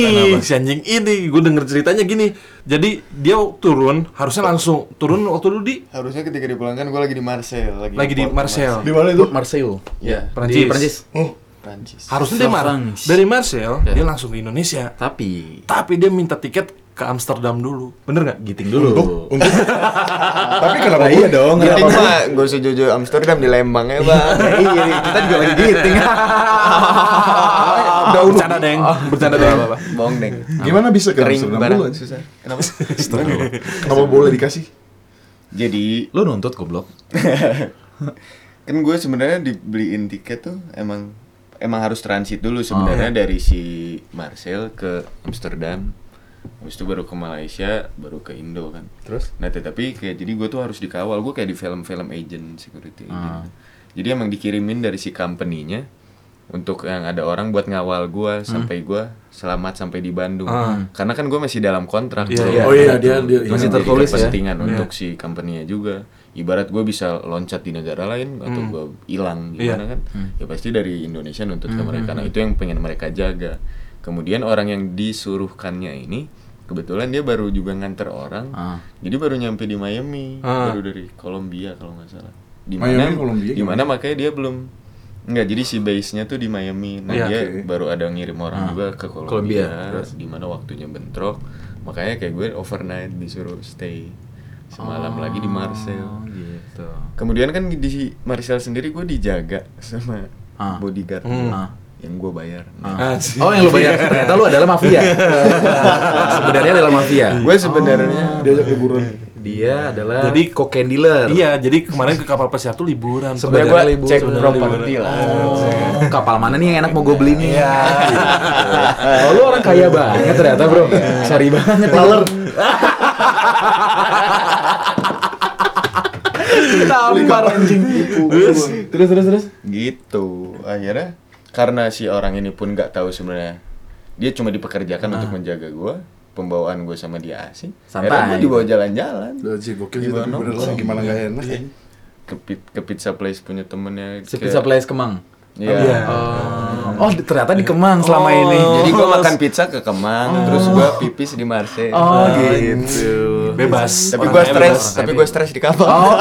Speaker 4: si anjing ini, gue denger ceritanya gini. Jadi dia turun, harusnya langsung turun waktu lu di
Speaker 2: harusnya ketika dipulangkan gue lagi di Marseille lagi,
Speaker 4: lagi di
Speaker 2: port
Speaker 4: Marcel,
Speaker 3: Di mana itu?
Speaker 1: Port Marseille.
Speaker 2: Ya,
Speaker 1: Di
Speaker 4: Prancis.
Speaker 1: Prancis.
Speaker 3: Oh,
Speaker 2: Prancis.
Speaker 4: Harusnya dia marah.
Speaker 1: Prancis.
Speaker 4: Dari Marcel dia langsung ke Indonesia.
Speaker 1: Tapi
Speaker 4: Tapi dia minta tiket ke Amsterdam dulu. Bener nggak?
Speaker 1: giting dulu.
Speaker 3: untuk untuk. Tapi kenapa
Speaker 2: iya
Speaker 3: gua-
Speaker 2: dong,
Speaker 3: Kenapa
Speaker 2: ngerti
Speaker 3: gua-
Speaker 2: mah gak usah jojo Amsterdam di Lembang ya bang Iya, kita juga lagi giting
Speaker 4: Udah bercanda deng, bercanda deng.
Speaker 2: Bohong deng
Speaker 3: Gimana bisa ke
Speaker 2: Kering
Speaker 3: Amsterdam
Speaker 2: barang
Speaker 3: duluan?
Speaker 2: susah Kenapa?
Speaker 3: Kenapa boleh dikasih?
Speaker 2: Jadi,
Speaker 1: Lu nuntut goblok.
Speaker 2: kan gue sebenarnya dibeliin tiket tuh emang emang harus transit
Speaker 3: Oh.
Speaker 2: dulu
Speaker 3: Iya.
Speaker 2: sebenarnya dari si Marseille ke Amsterdam Habis itu baru ke Malaysia, baru ke Indo kan
Speaker 3: Terus?
Speaker 2: Nah tetapi kayak jadi gue tuh harus dikawal, gue kayak di film-film agent, security
Speaker 3: Ah.
Speaker 2: agent. Jadi emang dikirimin dari si company-nya untuk yang ada orang buat ngawal gue
Speaker 3: Hmm.
Speaker 2: sampai gue selamat sampai di Bandung. Karena kan gue masih dalam kontrak. bro.
Speaker 3: Oh Ah. iya, dia dia
Speaker 1: Masih
Speaker 3: iya.
Speaker 2: Jadi
Speaker 1: tertulis ya.
Speaker 2: kepentingan untuk si company-nya juga. Ibarat gue bisa loncat di negara lain atau gue hilang gimana kan? Ya pasti dari Indonesia nuntut ke mereka. Nah itu yang pengen mereka jaga. Kemudian orang yang disuruhkannya ini kebetulan dia baru juga nganter orang.
Speaker 1: Ah.
Speaker 2: Jadi baru nyampe di Miami,
Speaker 4: Ah.
Speaker 2: baru dari Kolombia kalau nggak salah. Di mana?
Speaker 3: Miami, Kolombia
Speaker 2: Di mana makanya dia belum Nggak, jadi si base-nya tuh di Miami. Nah,
Speaker 4: Iya.
Speaker 2: dia
Speaker 3: Oke.
Speaker 2: baru ada ngirim orang juga ke Kolombia.
Speaker 1: Kolombia,
Speaker 2: di mana waktunya bentrok. Makanya kayak gue overnight disuruh stay semalam lagi di Marseille.
Speaker 1: gitu.
Speaker 2: Kemudian kan di Marseille sendiri gue dijaga sama
Speaker 1: Ah.
Speaker 2: bodyguard
Speaker 1: Ah.
Speaker 2: yang gue bayar.
Speaker 1: Oh yang lu bayar ternyata lu adalah mafia. Sebenarnya adalah mafia.
Speaker 2: Nah, Gue sebenarnya
Speaker 3: Diajak liburan.
Speaker 1: Dia adalah jadi cocaine dealer.
Speaker 4: Iya, jadi kemarin ke kapal pesiar tuh liburan.
Speaker 1: Sebenarnya
Speaker 2: sebenarnya gue
Speaker 1: libur,
Speaker 2: cek
Speaker 1: sebenarnya
Speaker 2: properti lah.
Speaker 1: Oh, kapal mana nih yang enak mau gue beli nih? Iya. Oh, lu orang kaya banget ternyata, Bro. Sorry banget. Taler. Tampar anjing. Terus, terus, terus, terus.
Speaker 2: gitu akhirnya karena si orang ini pun nggak tahu sebenarnya dia cuma dipekerjakan untuk menjaga gua pembawaan gue sama dia asing
Speaker 1: Santai.
Speaker 2: akhirnya gue dibawa jalan-jalan
Speaker 3: Udah sih gokil sih
Speaker 2: Gimana?
Speaker 3: tapi bener lah gimana gak enak. ya.
Speaker 2: ke, pi- ke pizza place punya temennya
Speaker 1: Si
Speaker 2: ke-
Speaker 1: pizza place Kemang.
Speaker 2: Iya.
Speaker 1: Oh, oh, ternyata di Kemang selama
Speaker 4: Oh.
Speaker 1: ini.
Speaker 2: jadi gua makan pizza ke Kemang terus gua pipis di Marseille Nah,
Speaker 1: Oh, gitu.
Speaker 4: Bebas.
Speaker 2: tapi
Speaker 4: Orang
Speaker 2: gua
Speaker 4: kaya
Speaker 2: stres
Speaker 4: bebas.
Speaker 2: tapi gua stres di kapal
Speaker 1: Oh,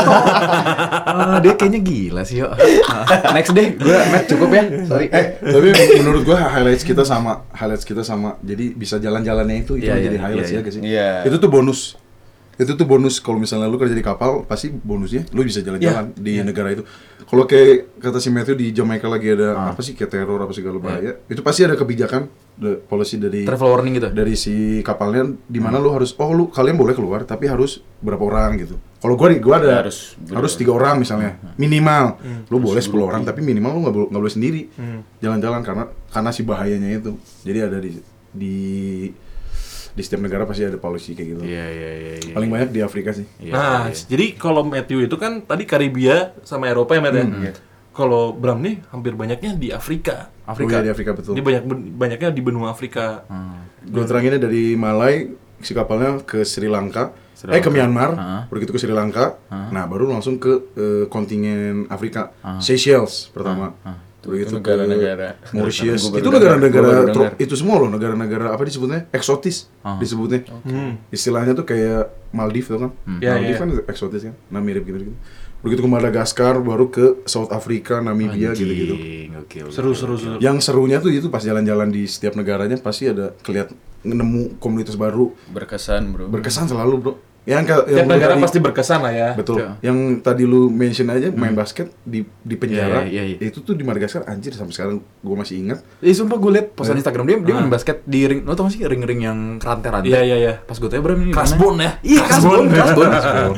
Speaker 1: Ah, dia kayaknya gila sih, yo. Ah, Next deh, gue Matt cukup ya. Sorry.
Speaker 3: Eh, tapi menurut gua highlights kita sama, highlights kita sama. Jadi bisa jalan-jalannya itu itu
Speaker 1: Iya,
Speaker 3: jadi
Speaker 1: iya,
Speaker 3: highlights
Speaker 1: iya,
Speaker 3: ya guys sih.
Speaker 2: Iya.
Speaker 3: Itu tuh bonus. Itu tuh bonus kalau misalnya lu kerja di kapal, pasti bonusnya lu bisa jalan-jalan
Speaker 1: Iya.
Speaker 3: di negara itu. Kalau kayak kata si Matthew di Jamaica lagi ada
Speaker 1: Ah.
Speaker 3: apa sih kayak teror apa
Speaker 1: Iya.
Speaker 3: segala bahaya, itu pasti ada kebijakan the policy dari
Speaker 1: Travel warning gitu.
Speaker 3: dari si kapalnya di mana lu harus oh lu kalian boleh keluar tapi harus berapa orang gitu. Kalau gua nih gua ada
Speaker 2: Ya, harus
Speaker 3: harus
Speaker 2: ber-
Speaker 3: tiga orang misalnya minimal. Lu boleh 10 orang tapi minimal lu nggak boleh nggak boleh sendiri. Jalan-jalan karena karena si bahayanya itu. Jadi ada di di di setiap negara pasti ada polisi kayak gitu.
Speaker 1: Iya, iya, iya, iya.
Speaker 3: Paling banyak di Afrika sih.
Speaker 4: Nah, jadi kalau Matthew itu kan tadi Karibia sama Eropa ya, Matt, ya? Kalau Bram nih hampir banyaknya di Afrika.
Speaker 3: Afrika. Oh, iya, di Afrika betul.
Speaker 4: Dia banyak banyaknya di benua Afrika.
Speaker 1: Hmm.
Speaker 3: Gua teranginnya dari Malai si kapalnya ke Sri Lanka, eh ke Myanmar, begitu ke Sri Lanka, nah baru langsung ke eh, kontingen Afrika, Seychelles pertama,
Speaker 1: Hmm.
Speaker 3: begitu
Speaker 2: Itu negara-negara.
Speaker 3: ke Mauritius,
Speaker 2: Gua baru dengar,
Speaker 3: itu
Speaker 2: gua baru
Speaker 3: negara-negara tro-
Speaker 2: dengar.
Speaker 3: itu semua loh negara-negara apa disebutnya eksotis disebutnya,
Speaker 2: Oh.
Speaker 4: Hmm.
Speaker 3: istilahnya tuh kayak Maldives tuh kan,
Speaker 2: Hmm.
Speaker 4: Ya,
Speaker 3: Maldives
Speaker 4: ya.
Speaker 3: kan eksotis kan, nah mirip gitu gitu, begitu ke Madagaskar baru ke South Africa, Namibia gitu-gitu.
Speaker 1: Oke,
Speaker 4: Seru seru seru. Ya,
Speaker 3: Yang serunya tuh itu pas jalan-jalan di setiap negaranya pasti ada keliat nemu komunitas baru
Speaker 2: berkesan bro
Speaker 3: berkesan selalu bro Ya, Yang ke yang
Speaker 4: Tiap
Speaker 3: lu
Speaker 4: negara
Speaker 3: tadi-
Speaker 4: pasti berkesan lah ya.
Speaker 3: Betul.
Speaker 1: Iya. Hmm.
Speaker 3: Yang tadi lu mention aja main basket di di penjara.
Speaker 1: Iya, iya, iya, iya.
Speaker 3: Itu tuh di Madagaskar anjir sampai sekarang gua masih ingat.
Speaker 1: Eh sumpah gue liat postan
Speaker 3: Iya.
Speaker 1: Instagram dia, dia main basket di ring, lo tau gak sih ring-ring yang rantai-rantai?
Speaker 4: Iya, iya, iya.
Speaker 1: Pas gue tanya Bram ini di
Speaker 4: Kelas
Speaker 1: mana?"
Speaker 4: bond ya?
Speaker 1: Iya
Speaker 3: Kelas
Speaker 1: kasbon,
Speaker 3: bond.
Speaker 1: kasbon.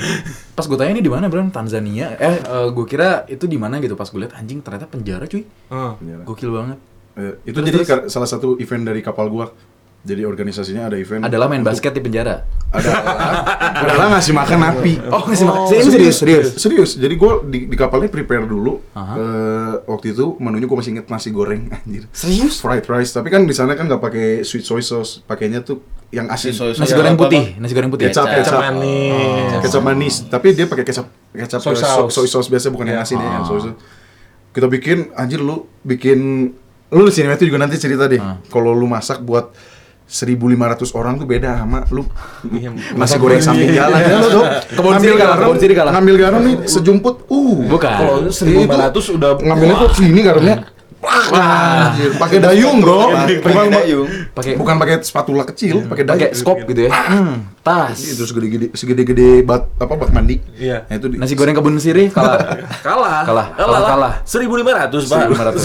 Speaker 1: Pas gue tanya ini di mana Bram? Tanzania. Eh gue kira itu di mana gitu pas gue liat anjing ternyata penjara cuy.
Speaker 4: Heeh.
Speaker 3: Penjara.
Speaker 1: Gokil banget.
Speaker 3: Iya. Eh, itu
Speaker 1: Terus,
Speaker 3: jadi
Speaker 1: terus.
Speaker 3: ka- salah satu event dari kapal gua. Jadi organisasinya ada event.
Speaker 1: Adalah main basket di penjara.
Speaker 3: Ada. adalah ngasih makan api.
Speaker 1: Oh ngasih makan.
Speaker 3: Serius,
Speaker 1: Serius,
Speaker 3: serius, serius. Jadi gue di, di kapalnya prepare dulu.
Speaker 1: Aha.
Speaker 3: Eh, waktu itu menunya gue masih inget nasi goreng, anjir.
Speaker 1: Serius?
Speaker 3: Fried rice. Tapi kan di sana kan nggak pakai sweet soy sauce, pakainya tuh yang asin.
Speaker 2: Sweet soy sauce.
Speaker 1: Nasi
Speaker 2: Iya,
Speaker 1: goreng
Speaker 2: apa-apa.
Speaker 1: putih, nasi goreng putih.
Speaker 3: Kecap,
Speaker 4: Kecap
Speaker 3: kecap.
Speaker 2: Iya.
Speaker 4: manis.
Speaker 3: Kecap manis. Tapi dia pakai kecap kecap
Speaker 4: Iya. Soy
Speaker 3: eh, so-
Speaker 4: sauce.
Speaker 3: soy sauce biasa bukan yang
Speaker 4: Iya.
Speaker 3: asin ya,
Speaker 2: Ah.
Speaker 3: yang soy sauce. Kita bikin, anjir lu bikin lu di sini itu juga nanti cerita deh.
Speaker 2: Ah.
Speaker 3: Kalau lu masak buat 1500 orang tuh beda sama lu
Speaker 4: Nah,
Speaker 3: nasi goreng sambil jalan
Speaker 2: Iya.
Speaker 3: ya lu tuh.
Speaker 1: Kebon siri
Speaker 3: Ngambil
Speaker 1: kalah,
Speaker 3: garam,
Speaker 1: kebon siri kalah.
Speaker 3: Ngambil garam nih sejumput. Uh,
Speaker 1: Bukan.
Speaker 4: Kalau
Speaker 1: Itu-
Speaker 4: 1500 udah
Speaker 3: ngambilnya tuh sini garamnya. Wah, anjir. pakai dayung, Bro.
Speaker 2: Pakai
Speaker 3: Bukan
Speaker 2: dayung. Iya.
Speaker 1: Pakai
Speaker 3: Bukan pakai spatula kecil, pakai dayung.
Speaker 1: pakai skop gitu ya. Hmm, tas.
Speaker 3: Itu segede-gede segede-gede bat apa bak mandi.
Speaker 4: Iya.
Speaker 3: Nah, itu di-
Speaker 1: Nasi goreng kebun sirih kalah.
Speaker 4: kalah.
Speaker 1: Kalah, kalah, kalah.
Speaker 4: 1500, Pak.
Speaker 1: 1500.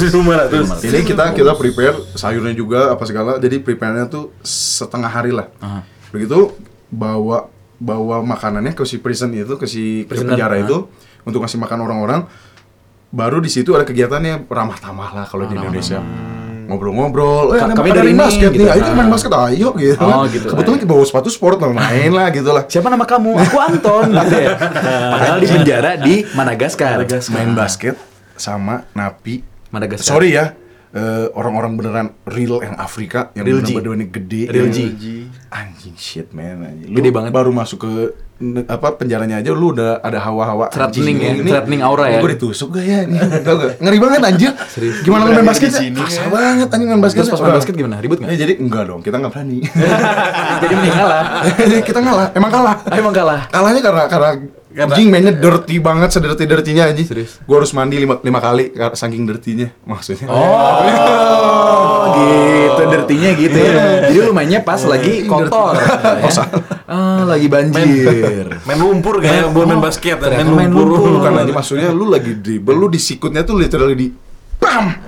Speaker 4: 1500.
Speaker 3: Jadi kita kita prepare sayurnya juga apa segala. Jadi prepare-nya tuh setengah hari lah.
Speaker 1: Aha.
Speaker 3: Begitu bawa bawa makanannya ke si prison itu ke si ke
Speaker 1: Prisoner,
Speaker 3: penjara
Speaker 1: aha.
Speaker 3: itu untuk ngasih makan orang-orang. Baru di situ ada kegiatannya ramah tamah lah kalau di Indonesia. Ngobrol-ngobrol, eh,
Speaker 1: Ka-
Speaker 3: ada
Speaker 1: kami
Speaker 3: makanan
Speaker 1: dari
Speaker 3: main
Speaker 1: ini,
Speaker 3: basket
Speaker 1: gitu.
Speaker 3: nih, ayo kita main
Speaker 1: Ah.
Speaker 3: basket, ayo gitu.
Speaker 1: Oh, gitu. Iya,
Speaker 3: Kebetulan kita bawa sepatu sport, lah, main lah gitu lah.
Speaker 1: Siapa nama kamu? Aku Anton gitu ya. Padahal di penjara di Madagaskar.
Speaker 3: Main basket sama napi
Speaker 1: Madagaskar.
Speaker 3: sorry ya eh, orang-orang beneran real yang Afrika yang
Speaker 1: Real
Speaker 3: bener
Speaker 1: G.
Speaker 3: beneran gede
Speaker 1: Real
Speaker 3: yang-
Speaker 1: G.
Speaker 3: anjing shit man anjing.
Speaker 1: Gede banget.
Speaker 3: baru masuk ke ne- apa penjaranya aja lu udah ada hawa-hawa
Speaker 1: Threatening ya, threatening aura ya.
Speaker 3: gue ditusuk gak ya nih tau gak ngeri banget anjir gimana lu main
Speaker 2: Berani
Speaker 3: basket
Speaker 2: di sini
Speaker 3: paksa banget anjing main
Speaker 1: ya.
Speaker 3: basket Eh.
Speaker 1: Terus pas main basket gimana? Ribut nggak?
Speaker 3: jadi enggak dong kita nggak berani
Speaker 1: Jadi mending kalah.
Speaker 3: Jadi kita ngalah emang kalah
Speaker 1: Ah, emang kalah.
Speaker 3: kalahnya karena karena anjing mainnya dirty banget sederty dirtinya anjing
Speaker 1: Serius?
Speaker 3: gue harus mandi lima, lima kali kar- saking dirtinya maksudnya
Speaker 1: Oh, gitu. Dirtinya gitu
Speaker 3: Iya.
Speaker 1: ya. Jadi lu mainnya pas lagi kotor.
Speaker 3: Oh,
Speaker 1: ya. Ah, lagi banjir.
Speaker 4: Main lumpur kayaknya, bukan main basket,
Speaker 1: ternyata main
Speaker 4: main lumpur.
Speaker 1: lumpur.
Speaker 3: bukan lagi maksudnya lu lagi dribble lu disikutnya tuh literally di pam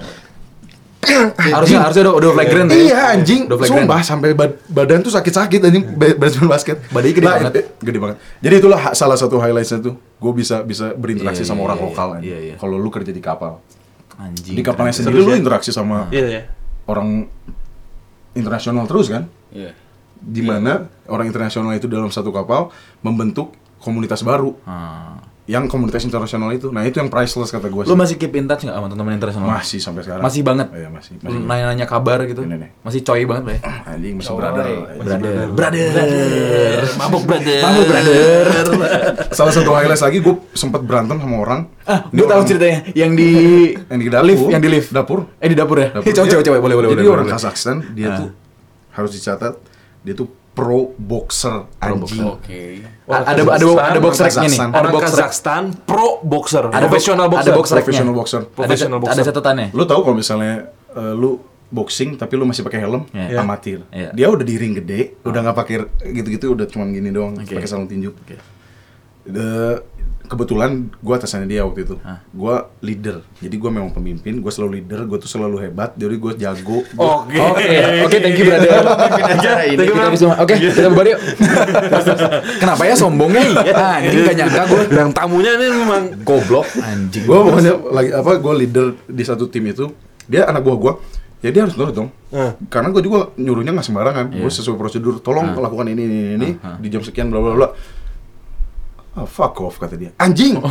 Speaker 1: Harusnya harusnya udah udah flagrant ya.
Speaker 3: iya anjing
Speaker 1: Udah flagrant.
Speaker 3: sumpah sampai bad- badan tuh sakit-sakit anjing ba- baseball basket
Speaker 1: Badannya gede
Speaker 3: Nah,
Speaker 1: banget.
Speaker 3: eh, gede banget jadi itulah ha- salah satu highlightsnya tuh gue bisa bisa berinteraksi
Speaker 1: Iya,
Speaker 3: sama
Speaker 1: iya,
Speaker 3: orang
Speaker 1: iya,
Speaker 3: lokal anjing.
Speaker 1: iya, ya? iya.
Speaker 3: kalau lu kerja di kapal
Speaker 1: Anjing.
Speaker 3: di kapalnya
Speaker 1: keren.
Speaker 3: sendiri lu interaksi sama
Speaker 4: Iya, iya.
Speaker 3: orang internasional terus kan
Speaker 2: Iya.
Speaker 3: di mana orang internasional itu dalam satu kapal membentuk komunitas baru
Speaker 1: Ah.
Speaker 3: yang komunitas internasional itu nah itu yang priceless kata gue
Speaker 1: Lu masih keep in touch nggak sama teman-teman internasional?
Speaker 3: masih sampai sekarang
Speaker 1: Hmm. Masih banget.
Speaker 3: iya masih
Speaker 1: Lu
Speaker 3: masih
Speaker 1: Nanya-nanya kabar gitu.
Speaker 3: Ini nih.
Speaker 1: Masih coy banget lah ya.
Speaker 3: anjing masih brother
Speaker 1: Brother. Brother.
Speaker 4: Mabuk brother.
Speaker 1: Kamu brother.
Speaker 3: salah satu highlight lagi gue sempat berantem sama orang
Speaker 1: Ah, gue tahu ceritanya yang di
Speaker 3: yang di dapur
Speaker 1: lift, yang di lift.
Speaker 3: dapur
Speaker 1: Eh di dapur ya? Eh,
Speaker 3: Dapur.
Speaker 1: Cewek-cewek cewek boleh boleh boleh,
Speaker 3: jadi orang
Speaker 1: boleh. Ah,
Speaker 3: Kazakhstan dia tuh harus dicatat dia tuh pro boxer anjing
Speaker 2: Oke.
Speaker 1: A- ada ada ada box racknya nih.
Speaker 3: Kazakhstan.
Speaker 1: Ada
Speaker 4: Orang
Speaker 1: box rack.
Speaker 4: Kazakhstan pro boxer,
Speaker 1: Ada
Speaker 4: profesional
Speaker 1: box-
Speaker 4: boxer.
Speaker 1: Ada box racknya.
Speaker 3: Professional boxer.
Speaker 1: Ada-
Speaker 4: Professional
Speaker 1: Ada
Speaker 4: boxer.
Speaker 1: catatannya.
Speaker 3: lu tahu kalau misalnya eh, lu boxing tapi lu masih pakai helm
Speaker 1: Iya.
Speaker 3: amatir
Speaker 1: Iya. Ah.
Speaker 3: dia udah di ring gede udah nggak pakai gitu-gitu udah cuman gini doang
Speaker 1: Oke.
Speaker 3: pakai sarung tinju The- kebetulan gua atasannya dia waktu itu
Speaker 1: Ah.
Speaker 3: gua leader jadi gua memang pemimpin gua selalu leader gua tuh selalu hebat jadi gua jago
Speaker 1: Oh,
Speaker 3: Gua-
Speaker 4: Oke.
Speaker 1: Oke, oke, thank you brother.
Speaker 2: acara ini.
Speaker 1: Thank you, kita bisa- Oke, kita bubar yuk. Terus, terus. Kenapa ya sombongnya? Iya, anjing gak nyangka gue.
Speaker 4: Yang tamunya ini memang
Speaker 1: Goblok, anjing.
Speaker 3: gua pokoknya lagi apa gua leader di satu tim itu dia anak buah gua ya dia harus nurut dong karena gua juga nyuruhnya nggak sembarangan gua sesuai prosedur tolong lakukan ini ini ini, ini di jam sekian bla bla bla Ah, fuck off kata dia anjing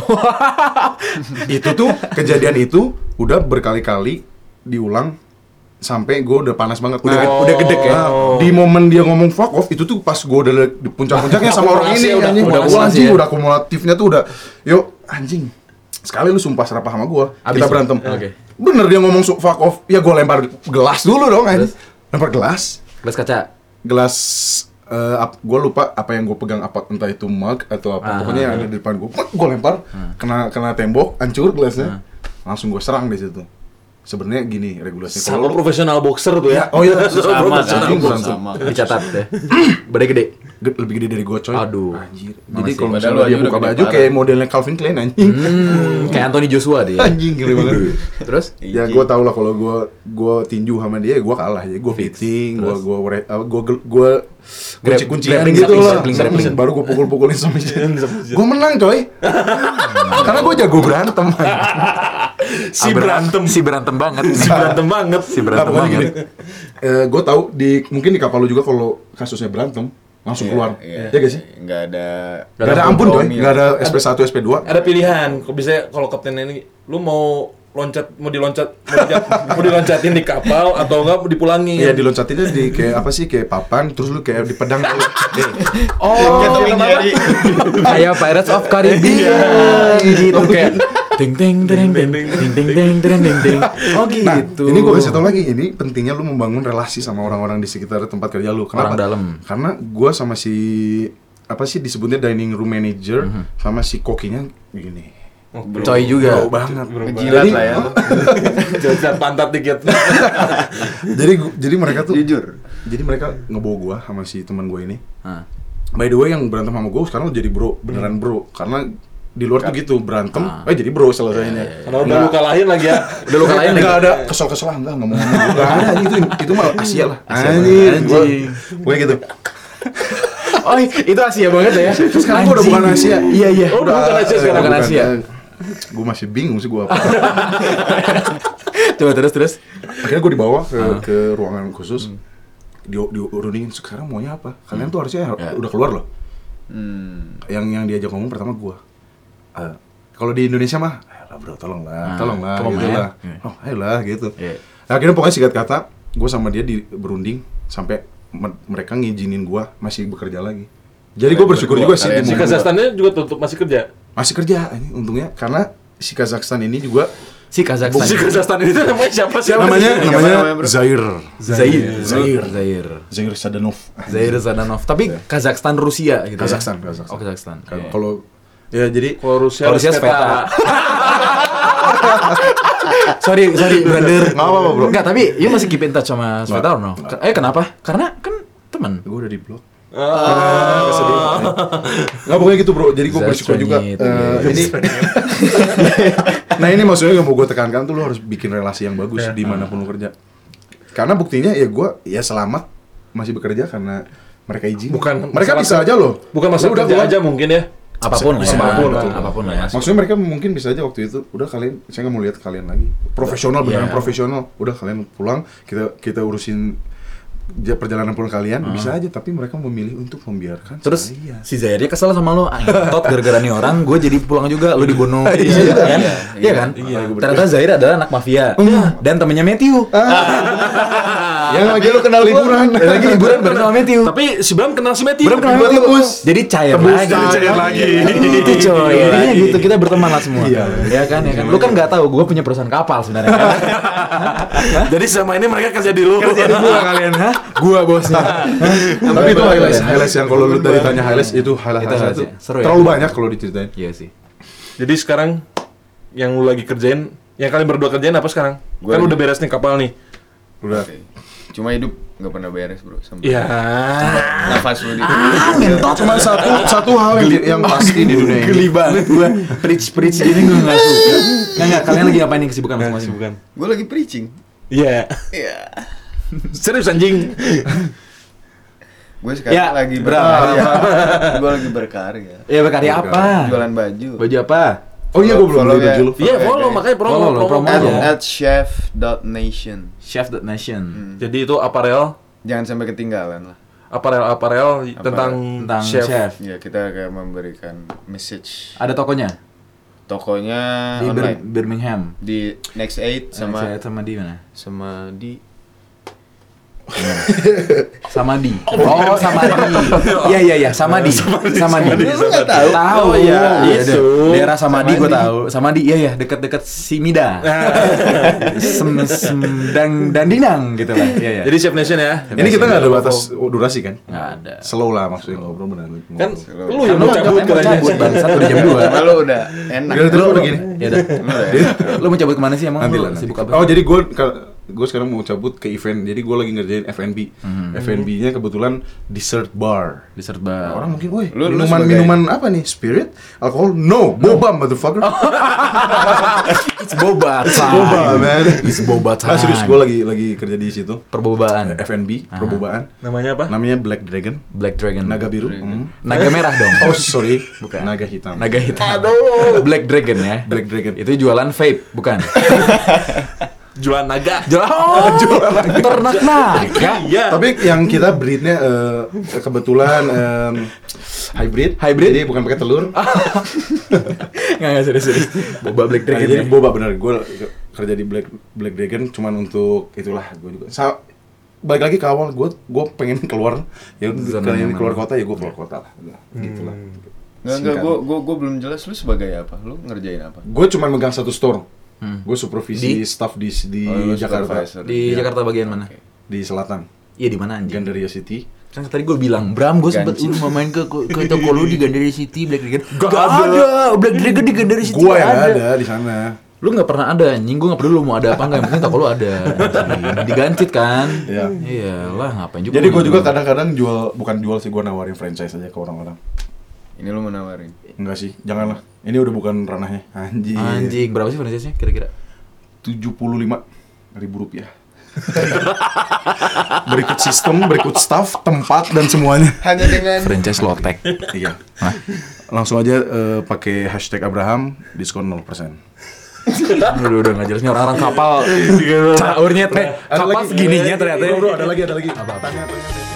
Speaker 3: itu tuh kejadian itu udah berkali-kali diulang sampai gua udah panas banget
Speaker 1: Udah- udah gedek ya?
Speaker 3: Nah, di momen dia ngomong fuck off itu tuh pas gua udah di puncak-puncaknya sama orang ini
Speaker 1: Akumulasi, udah-
Speaker 3: anjing
Speaker 1: udah
Speaker 3: udah,
Speaker 1: akumulasi
Speaker 3: anjing
Speaker 1: ya?
Speaker 3: udah akumulatifnya tuh udah yuk anjing sekali lu sumpah serapah sama gua
Speaker 1: Abis
Speaker 3: kita
Speaker 1: ya?
Speaker 3: berantem
Speaker 1: Oke.
Speaker 3: bener dia ngomong su- fuck off ya gua lempar gelas dulu dong anjing lempar gelas
Speaker 1: Gelas kaca.
Speaker 3: gelas eh, ap- gua lupa apa yang gua pegang apa entah itu mug atau apa
Speaker 1: Ah.
Speaker 3: pokoknya yang ada di depan gua Pek, gua lempar kena kena tembok
Speaker 1: Ah.
Speaker 3: hancur gelasnya langsung gua serang di situ sebenarnya gini regulasinya
Speaker 4: sama
Speaker 3: lu-
Speaker 4: profesional boxer tuh ya.
Speaker 3: oh iya
Speaker 2: Sama,
Speaker 3: Anjing,
Speaker 2: kan?
Speaker 3: berantem.
Speaker 2: Sama.
Speaker 1: Dicatat ya. Badai gede.
Speaker 3: Ge- lebih gede dari gue coy.
Speaker 1: Aduh.
Speaker 3: Anjir. Jadi
Speaker 1: Makasih.
Speaker 2: Padahal
Speaker 3: kalau misalnya
Speaker 2: lu
Speaker 3: dia
Speaker 2: aja
Speaker 3: buka
Speaker 2: udah gede
Speaker 3: baju
Speaker 2: parah.
Speaker 3: kayak modelnya Calvin Klein anjing.
Speaker 1: Hmm, kayak Anthony Joshua dia.
Speaker 3: anjing gede banget.
Speaker 1: Terus
Speaker 3: ya gue tau lah kalau gue gue tinju sama dia gue kalah ya gue fitting gue gue gue gue kunci
Speaker 1: Grab-
Speaker 3: kuncian
Speaker 1: grappling,
Speaker 3: gitu
Speaker 1: grappling,
Speaker 3: loh
Speaker 1: grappling,
Speaker 3: Serem,
Speaker 1: grappling.
Speaker 3: baru gue pukul pukulin sama dia gue menang coy karena gue jago berantem
Speaker 1: Ah,
Speaker 4: Si
Speaker 1: ber-
Speaker 4: berantem.
Speaker 1: si berantem banget.
Speaker 4: Si berantem banget.
Speaker 1: si berantem banget.
Speaker 3: gitu. gue Eh, tahu di mungkin di kapal lu juga kalau kasusnya berantem langsung keluar ya guys
Speaker 2: Iya,
Speaker 3: ya
Speaker 2: Nggak ada... iya.
Speaker 3: Gak ada iya. ampun coy, gak ada SP1, SP2
Speaker 4: Ada pilihan. Kok bisa ya, kalau kapten ini lu mau loncat mau diloncat mau, dijat- mau diloncatin di kapal atau enggak mau dipulangin.
Speaker 3: Iya diloncatinnya di kayak apa sih, kayak papan, terus lu kayak di pedang kali. Eh,
Speaker 4: iya,
Speaker 1: Oh,
Speaker 2: Kita mencari.
Speaker 1: kayak Pirates of
Speaker 3: Iya.
Speaker 1: Caribbean
Speaker 3: Oh,
Speaker 1: gitu kayak ting ting ting ting ting ting ting ting ting ting ting. Oh
Speaker 3: Nah,
Speaker 1: gitu.
Speaker 3: ini gue kasih tau lagi, ini pentingnya lu membangun relasi sama orang-orang di sekitar tempat kerja lu. Kenapa?
Speaker 1: Orang dalam.
Speaker 3: Karena gue sama si apa sih disebutnya dining room manager sama si kokinya begini.
Speaker 1: Coy Mhm. juga.
Speaker 3: Bau banget.
Speaker 2: Ngejilat
Speaker 3: Jadi-
Speaker 2: lah ya.
Speaker 4: Jajan pantat dikit.
Speaker 3: jadi gu- jadi mereka tuh
Speaker 2: Jujur.
Speaker 3: Jadi mereka ngebawa gue sama si teman gue ini.
Speaker 1: Hah.
Speaker 3: By the way yang berantem sama gue sekarang udah jadi bro, beneran
Speaker 1: Hmm.
Speaker 3: bro. Karena di luar tuh gitu berantem,
Speaker 1: Ah.
Speaker 3: eh jadi bro
Speaker 1: Iya,
Speaker 3: selesainya.
Speaker 4: Kalau udah lu kalahin lagi ya.
Speaker 1: Udah lu kalahin
Speaker 3: Enggak
Speaker 1: lagi.
Speaker 3: ada kesel-kesel enggak enggak mau ngomong. Enggak ada itu itu malah Asia lah.
Speaker 1: Asia banget.
Speaker 3: Gua-
Speaker 1: Anjing.
Speaker 3: Gua gitu.
Speaker 1: Oh, itu Asia banget ya.
Speaker 3: Terus sekarang gua udah bukan Asia.
Speaker 1: Iya, iya.
Speaker 4: Oh, udah bukan Asia sekarang.
Speaker 1: Bukan Asia.
Speaker 3: Gue masih bingung sih gue apa.
Speaker 1: Coba terus terus.
Speaker 3: Akhirnya gue dibawa ke,
Speaker 1: Ah.
Speaker 3: ke ruangan khusus. Di, diurunin sekarang maunya apa? Kalian tuh harusnya har-
Speaker 1: Ya.
Speaker 3: udah keluar loh.
Speaker 2: Hmm.
Speaker 3: Yang yang diajak ngomong pertama gue. kalau di Indonesia mah, ayolah bro,
Speaker 1: Ah,
Speaker 3: tolonglah, tolonglah,
Speaker 1: come on,
Speaker 3: gitu
Speaker 1: man.
Speaker 3: lah.
Speaker 1: Iya.
Speaker 3: Oh, ayolah gitu.
Speaker 1: Iya.
Speaker 3: Nah, akhirnya pokoknya singkat kata, gue sama dia di berunding sampai me- mereka ngizinin gue masih bekerja lagi. Jadi gue
Speaker 2: Kalian
Speaker 3: bersyukur
Speaker 2: berdua,
Speaker 3: juga sih
Speaker 2: kalian
Speaker 3: di
Speaker 4: Si
Speaker 3: momen gua.
Speaker 4: Kazakhstannya juga tutup masih kerja.
Speaker 3: masih kerja ini untungnya karena si Kazakhstan ini juga
Speaker 1: Si Kazakhstan.
Speaker 4: Si Kazakhstan itu namanya siapa sih?
Speaker 3: namanya
Speaker 2: Siapa
Speaker 3: namanya
Speaker 2: namanya, bro?
Speaker 3: Zair
Speaker 1: Zair.
Speaker 3: Zair.
Speaker 1: Zair.
Speaker 3: Zair Sadanov
Speaker 1: Zair Zadanov. Tapi Kazakhstan Rusia gitu. ya?
Speaker 3: Iya. Kazakhstan, Kazakhstan.
Speaker 1: Oh, Kazakhstan.
Speaker 3: Kan
Speaker 1: Iya.
Speaker 3: kalau ya jadi
Speaker 4: Kalau Rusia,
Speaker 1: Kalau Rusia Sveta. sorry, sorry, brother.
Speaker 3: Nggak apa-apa, bro.
Speaker 1: Enggak, tapi you masih keep in touch sama Sveta or no?
Speaker 3: Nggak.
Speaker 1: Eh, kenapa? Karena kan teman.
Speaker 3: gue udah di blok
Speaker 4: Ah,
Speaker 3: Nggak pokoknya gitu bro, jadi gue
Speaker 1: Zair
Speaker 3: bersyukur juga
Speaker 1: Sonyit,
Speaker 3: Eh,
Speaker 1: iya.
Speaker 3: ini Nah ini maksudnya yang mau gue tekankan tuh lo harus bikin relasi yang bagus
Speaker 4: Iya.
Speaker 3: dimanapun lo kerja Karena buktinya ya gue ya selamat masih bekerja karena mereka izin
Speaker 4: Bukan
Speaker 3: Mereka
Speaker 4: masalah-
Speaker 3: bisa aja loh
Speaker 4: bukan masalah
Speaker 3: Lo udah
Speaker 4: kerja
Speaker 3: keluar.
Speaker 4: aja mungkin ya.
Speaker 1: Apapun lah ya.
Speaker 4: Apapun lah.
Speaker 1: betul, Apapun lah ya.
Speaker 3: Maksudnya mereka mungkin bisa aja waktu itu udah kalian saya nggak mau lihat kalian lagi. Profesional beneran
Speaker 1: Iya.
Speaker 3: profesional. Udah kalian pulang, kita kita urusin ja- perjalanan pulang kalian bisa
Speaker 4: Hmm.
Speaker 3: aja tapi mereka memilih untuk membiarkan
Speaker 1: Terus
Speaker 3: saya.
Speaker 1: si Zairnya kesel sama lo, tot gara-gara nih orang, gue jadi pulang juga, lo dibunuh, iya, kan? Iya, kan? Ternyata Zair adalah anak mafia Iya. dan temennya Matthew.
Speaker 4: Ah,
Speaker 3: yang Ya, lagi lu kenal liburan
Speaker 1: Dan lagi liburan bareng sama Matthew.
Speaker 4: Tapi si Bram kenal si Meti.
Speaker 1: Belum kenal
Speaker 3: Tiba-tiba
Speaker 1: Matthew.
Speaker 3: tebus.
Speaker 1: Jadi cair lagi.
Speaker 3: cair lagi.
Speaker 1: Itu coy, intinya gitu kita berteman lah semua.
Speaker 3: Iya.
Speaker 1: ya kan, ya kan. Lu kan nggak tahu gue punya perusahaan kapal sebenarnya. Kan?
Speaker 4: Jadi selama ini mereka kerja di lu.
Speaker 1: Jadi gua kalian, hah? Gua bosnya.
Speaker 3: tapi itu highlights highlights yang kalau lu tadi tanya highlights itu highlight
Speaker 1: Itu highlights
Speaker 3: highlight itu
Speaker 1: ya. Seru ya?
Speaker 3: terlalu banyak kalau diceritain
Speaker 1: Iya sih.
Speaker 4: Jadi sekarang yang lu lagi kerjain, yang kalian berdua kerjain apa sekarang?
Speaker 2: Gua
Speaker 4: kan
Speaker 2: lagi-
Speaker 4: udah beres nih kapal nih.
Speaker 3: udah
Speaker 2: Cuma hidup nggak pernah beres bro. Sampai
Speaker 3: Iya.
Speaker 4: Ya.
Speaker 2: Nafas lu di...
Speaker 1: Ah.
Speaker 3: cuma satu satu hal yang, yang pasti di dunia ini
Speaker 1: Geli banget gua preach preach gini gua nggak suka. Nggak nggak kalian lagi ngapain nih kesibukan masing-masing?
Speaker 4: bukan.
Speaker 2: Gue lagi preaching.
Speaker 4: Iya.
Speaker 2: Iya.
Speaker 4: Serius anjing.
Speaker 2: Gue sekarang
Speaker 1: Ya,
Speaker 2: lagi
Speaker 1: berapa?
Speaker 2: berkarya. Gue lagi berkarya.
Speaker 1: Ya berkarya apa?
Speaker 2: Jualan baju.
Speaker 1: Baju apa?
Speaker 3: oh iya gue belum
Speaker 2: Follow
Speaker 3: beli
Speaker 2: ya.
Speaker 3: baju lu
Speaker 4: Iya, follow
Speaker 2: guys.
Speaker 4: makanya promo.
Speaker 1: Follow lo,
Speaker 3: ya.
Speaker 1: promo
Speaker 2: At,
Speaker 1: lo.
Speaker 2: at chef.nation.
Speaker 1: Chef the Nation.
Speaker 4: Jadi itu aparel,
Speaker 2: Jangan sampai ketinggalan lah.
Speaker 4: aparel aparel tentang
Speaker 1: Tentang chef.
Speaker 2: Ya kita akan memberikan message.
Speaker 1: Ada tokonya
Speaker 2: Tokonya
Speaker 1: di Bir-
Speaker 2: online
Speaker 1: Birmingham.
Speaker 2: di Next 8 sama
Speaker 1: Saya Nah, sama nah. di mana?
Speaker 2: sama di
Speaker 1: Sama di. Oh, sama di. Iya iya iya, sama di. Sama di.
Speaker 2: Lu nggak tahu?
Speaker 1: Tahu
Speaker 4: Oh,
Speaker 1: ya. Iya,
Speaker 4: iya, itu.
Speaker 1: da- Daerah Samadi gua tahu. Samadi iya ya, dekat-dekat Simida.
Speaker 4: Nah. Iya.
Speaker 1: Sem semdang dandinang gitu lah. Iya iya.
Speaker 4: Jadi Chef Nation ya.
Speaker 3: ini kita nggak ada batas durasi kan
Speaker 1: nggak ada.
Speaker 3: slow lah maksudnya ngobrol benar
Speaker 4: Kan
Speaker 2: Slow.
Speaker 4: lu yang mau cabut kan? katanya.
Speaker 1: cabut bangsat udah jam 2.
Speaker 2: Cuma lu udah enak.
Speaker 3: Udah, terus udah gini.
Speaker 1: Ya udah. iya, Lu mau cabut kemana sih emang?
Speaker 3: nanti Oh,
Speaker 1: Lu
Speaker 3: lah nanti.
Speaker 1: sibuk apa?
Speaker 3: oh jadi gue gue sekarang mau cabut ke event jadi gue lagi ngerjain F&B
Speaker 1: Hmm.
Speaker 3: F&B-nya kebetulan dessert bar
Speaker 1: Dessert bar.
Speaker 3: Nah, orang mungkin woi
Speaker 2: Lu- lu
Speaker 3: minuman
Speaker 2: sebagai- Oh.
Speaker 3: minuman apa nih spirit alkohol no, boba motherfucker
Speaker 1: It's boba time.
Speaker 3: boba man
Speaker 1: It's boba time. Ah.
Speaker 3: Nah, serius gue lagi lagi kerja di situ
Speaker 1: Perbobaan.
Speaker 3: F&B perbobaan
Speaker 4: Namanya apa?
Speaker 3: namanya Black Dragon
Speaker 1: Black Dragon.
Speaker 3: naga biru hmm.
Speaker 1: Naga merah dong.
Speaker 3: oh sorry
Speaker 1: Bukan.
Speaker 3: naga hitam
Speaker 1: Naga hitam. Aduh. Black Dragon ya.
Speaker 3: Black Dragon.
Speaker 1: Itu jualan vape, bukan?
Speaker 4: Jualan naga.
Speaker 1: jualan oh, jualan ternak nah. naga.
Speaker 4: Iya.
Speaker 3: Tapi yang kita breednya eh, kebetulan em, hybrid.
Speaker 1: Hybrid?
Speaker 3: Jadi bukan pakai telur.
Speaker 1: Nggak, nggak serius, serius. Boba Black
Speaker 3: Nah,
Speaker 1: Dragon.
Speaker 3: jadi
Speaker 1: ya.
Speaker 3: boba bener. Gue kerja di Black Black Dragon cuman untuk itulah gue juga. Sa balik lagi ke awal gue gue pengen keluar ya
Speaker 1: Zona
Speaker 3: pengen
Speaker 1: nyaman.
Speaker 3: keluar kota ya gue keluar kota lah Udah, gitu lah
Speaker 2: Enggak, enggak, gua, gua, gua belum jelas lu sebagai apa? Lu ngerjain apa?
Speaker 3: gue cuma megang satu store
Speaker 1: Hmm.
Speaker 3: gue
Speaker 1: Di?
Speaker 3: supervisi staff di di
Speaker 2: Oh, lu
Speaker 3: Jakarta
Speaker 2: supervisor.
Speaker 1: Di
Speaker 3: Iya.
Speaker 1: Jakarta bagian mana?
Speaker 3: di selatan
Speaker 1: Iya di mana anjing?
Speaker 3: Gandaria City
Speaker 1: Kan tadi gue bilang, Bram gue sempet
Speaker 2: Ganjil.
Speaker 1: lu mau main ke ke toko lu di Gandaria City, Black Dragon. Gak,
Speaker 3: ada.
Speaker 1: ada. Black Dragon di Gandaria City.
Speaker 3: gue
Speaker 1: nggak
Speaker 3: yang ada di sana
Speaker 1: Lu gak pernah ada anjing, gue gak peduli lu mau ada apa enggak, yang penting toko lu ada. anjing. Digantit kan?
Speaker 3: Iya.
Speaker 1: Iyalah, ngapain juga.
Speaker 3: Jadi
Speaker 1: lu
Speaker 3: gue juga
Speaker 1: gitu.
Speaker 3: kadang-kadang jual, bukan jual sih, gue nawarin franchise aja ke orang-orang.
Speaker 2: Ini lu menawarin.
Speaker 3: Enggak sih, janganlah. Ini udah bukan ranahnya. Anjir.
Speaker 1: Anjing, berapa sih franchise-nya kira-kira?
Speaker 3: 75 ribu rupiah. berikut sistem, berikut staff, tempat, dan semuanya.
Speaker 2: Hanya dengan
Speaker 1: Franchise Lotek.
Speaker 3: Iya. Nah, langsung aja eh, pakai hashtag Abraham, diskon 0%.
Speaker 1: Aduh, udah nggak jelasnya orang-orang kapal. Caurnya teh,
Speaker 3: Iya. Ada
Speaker 1: kapal
Speaker 3: lagi. Iya,
Speaker 1: segininya ternyata. ya.
Speaker 3: Bro, bro, ada lagi, ada lagi. Tanya, tanya.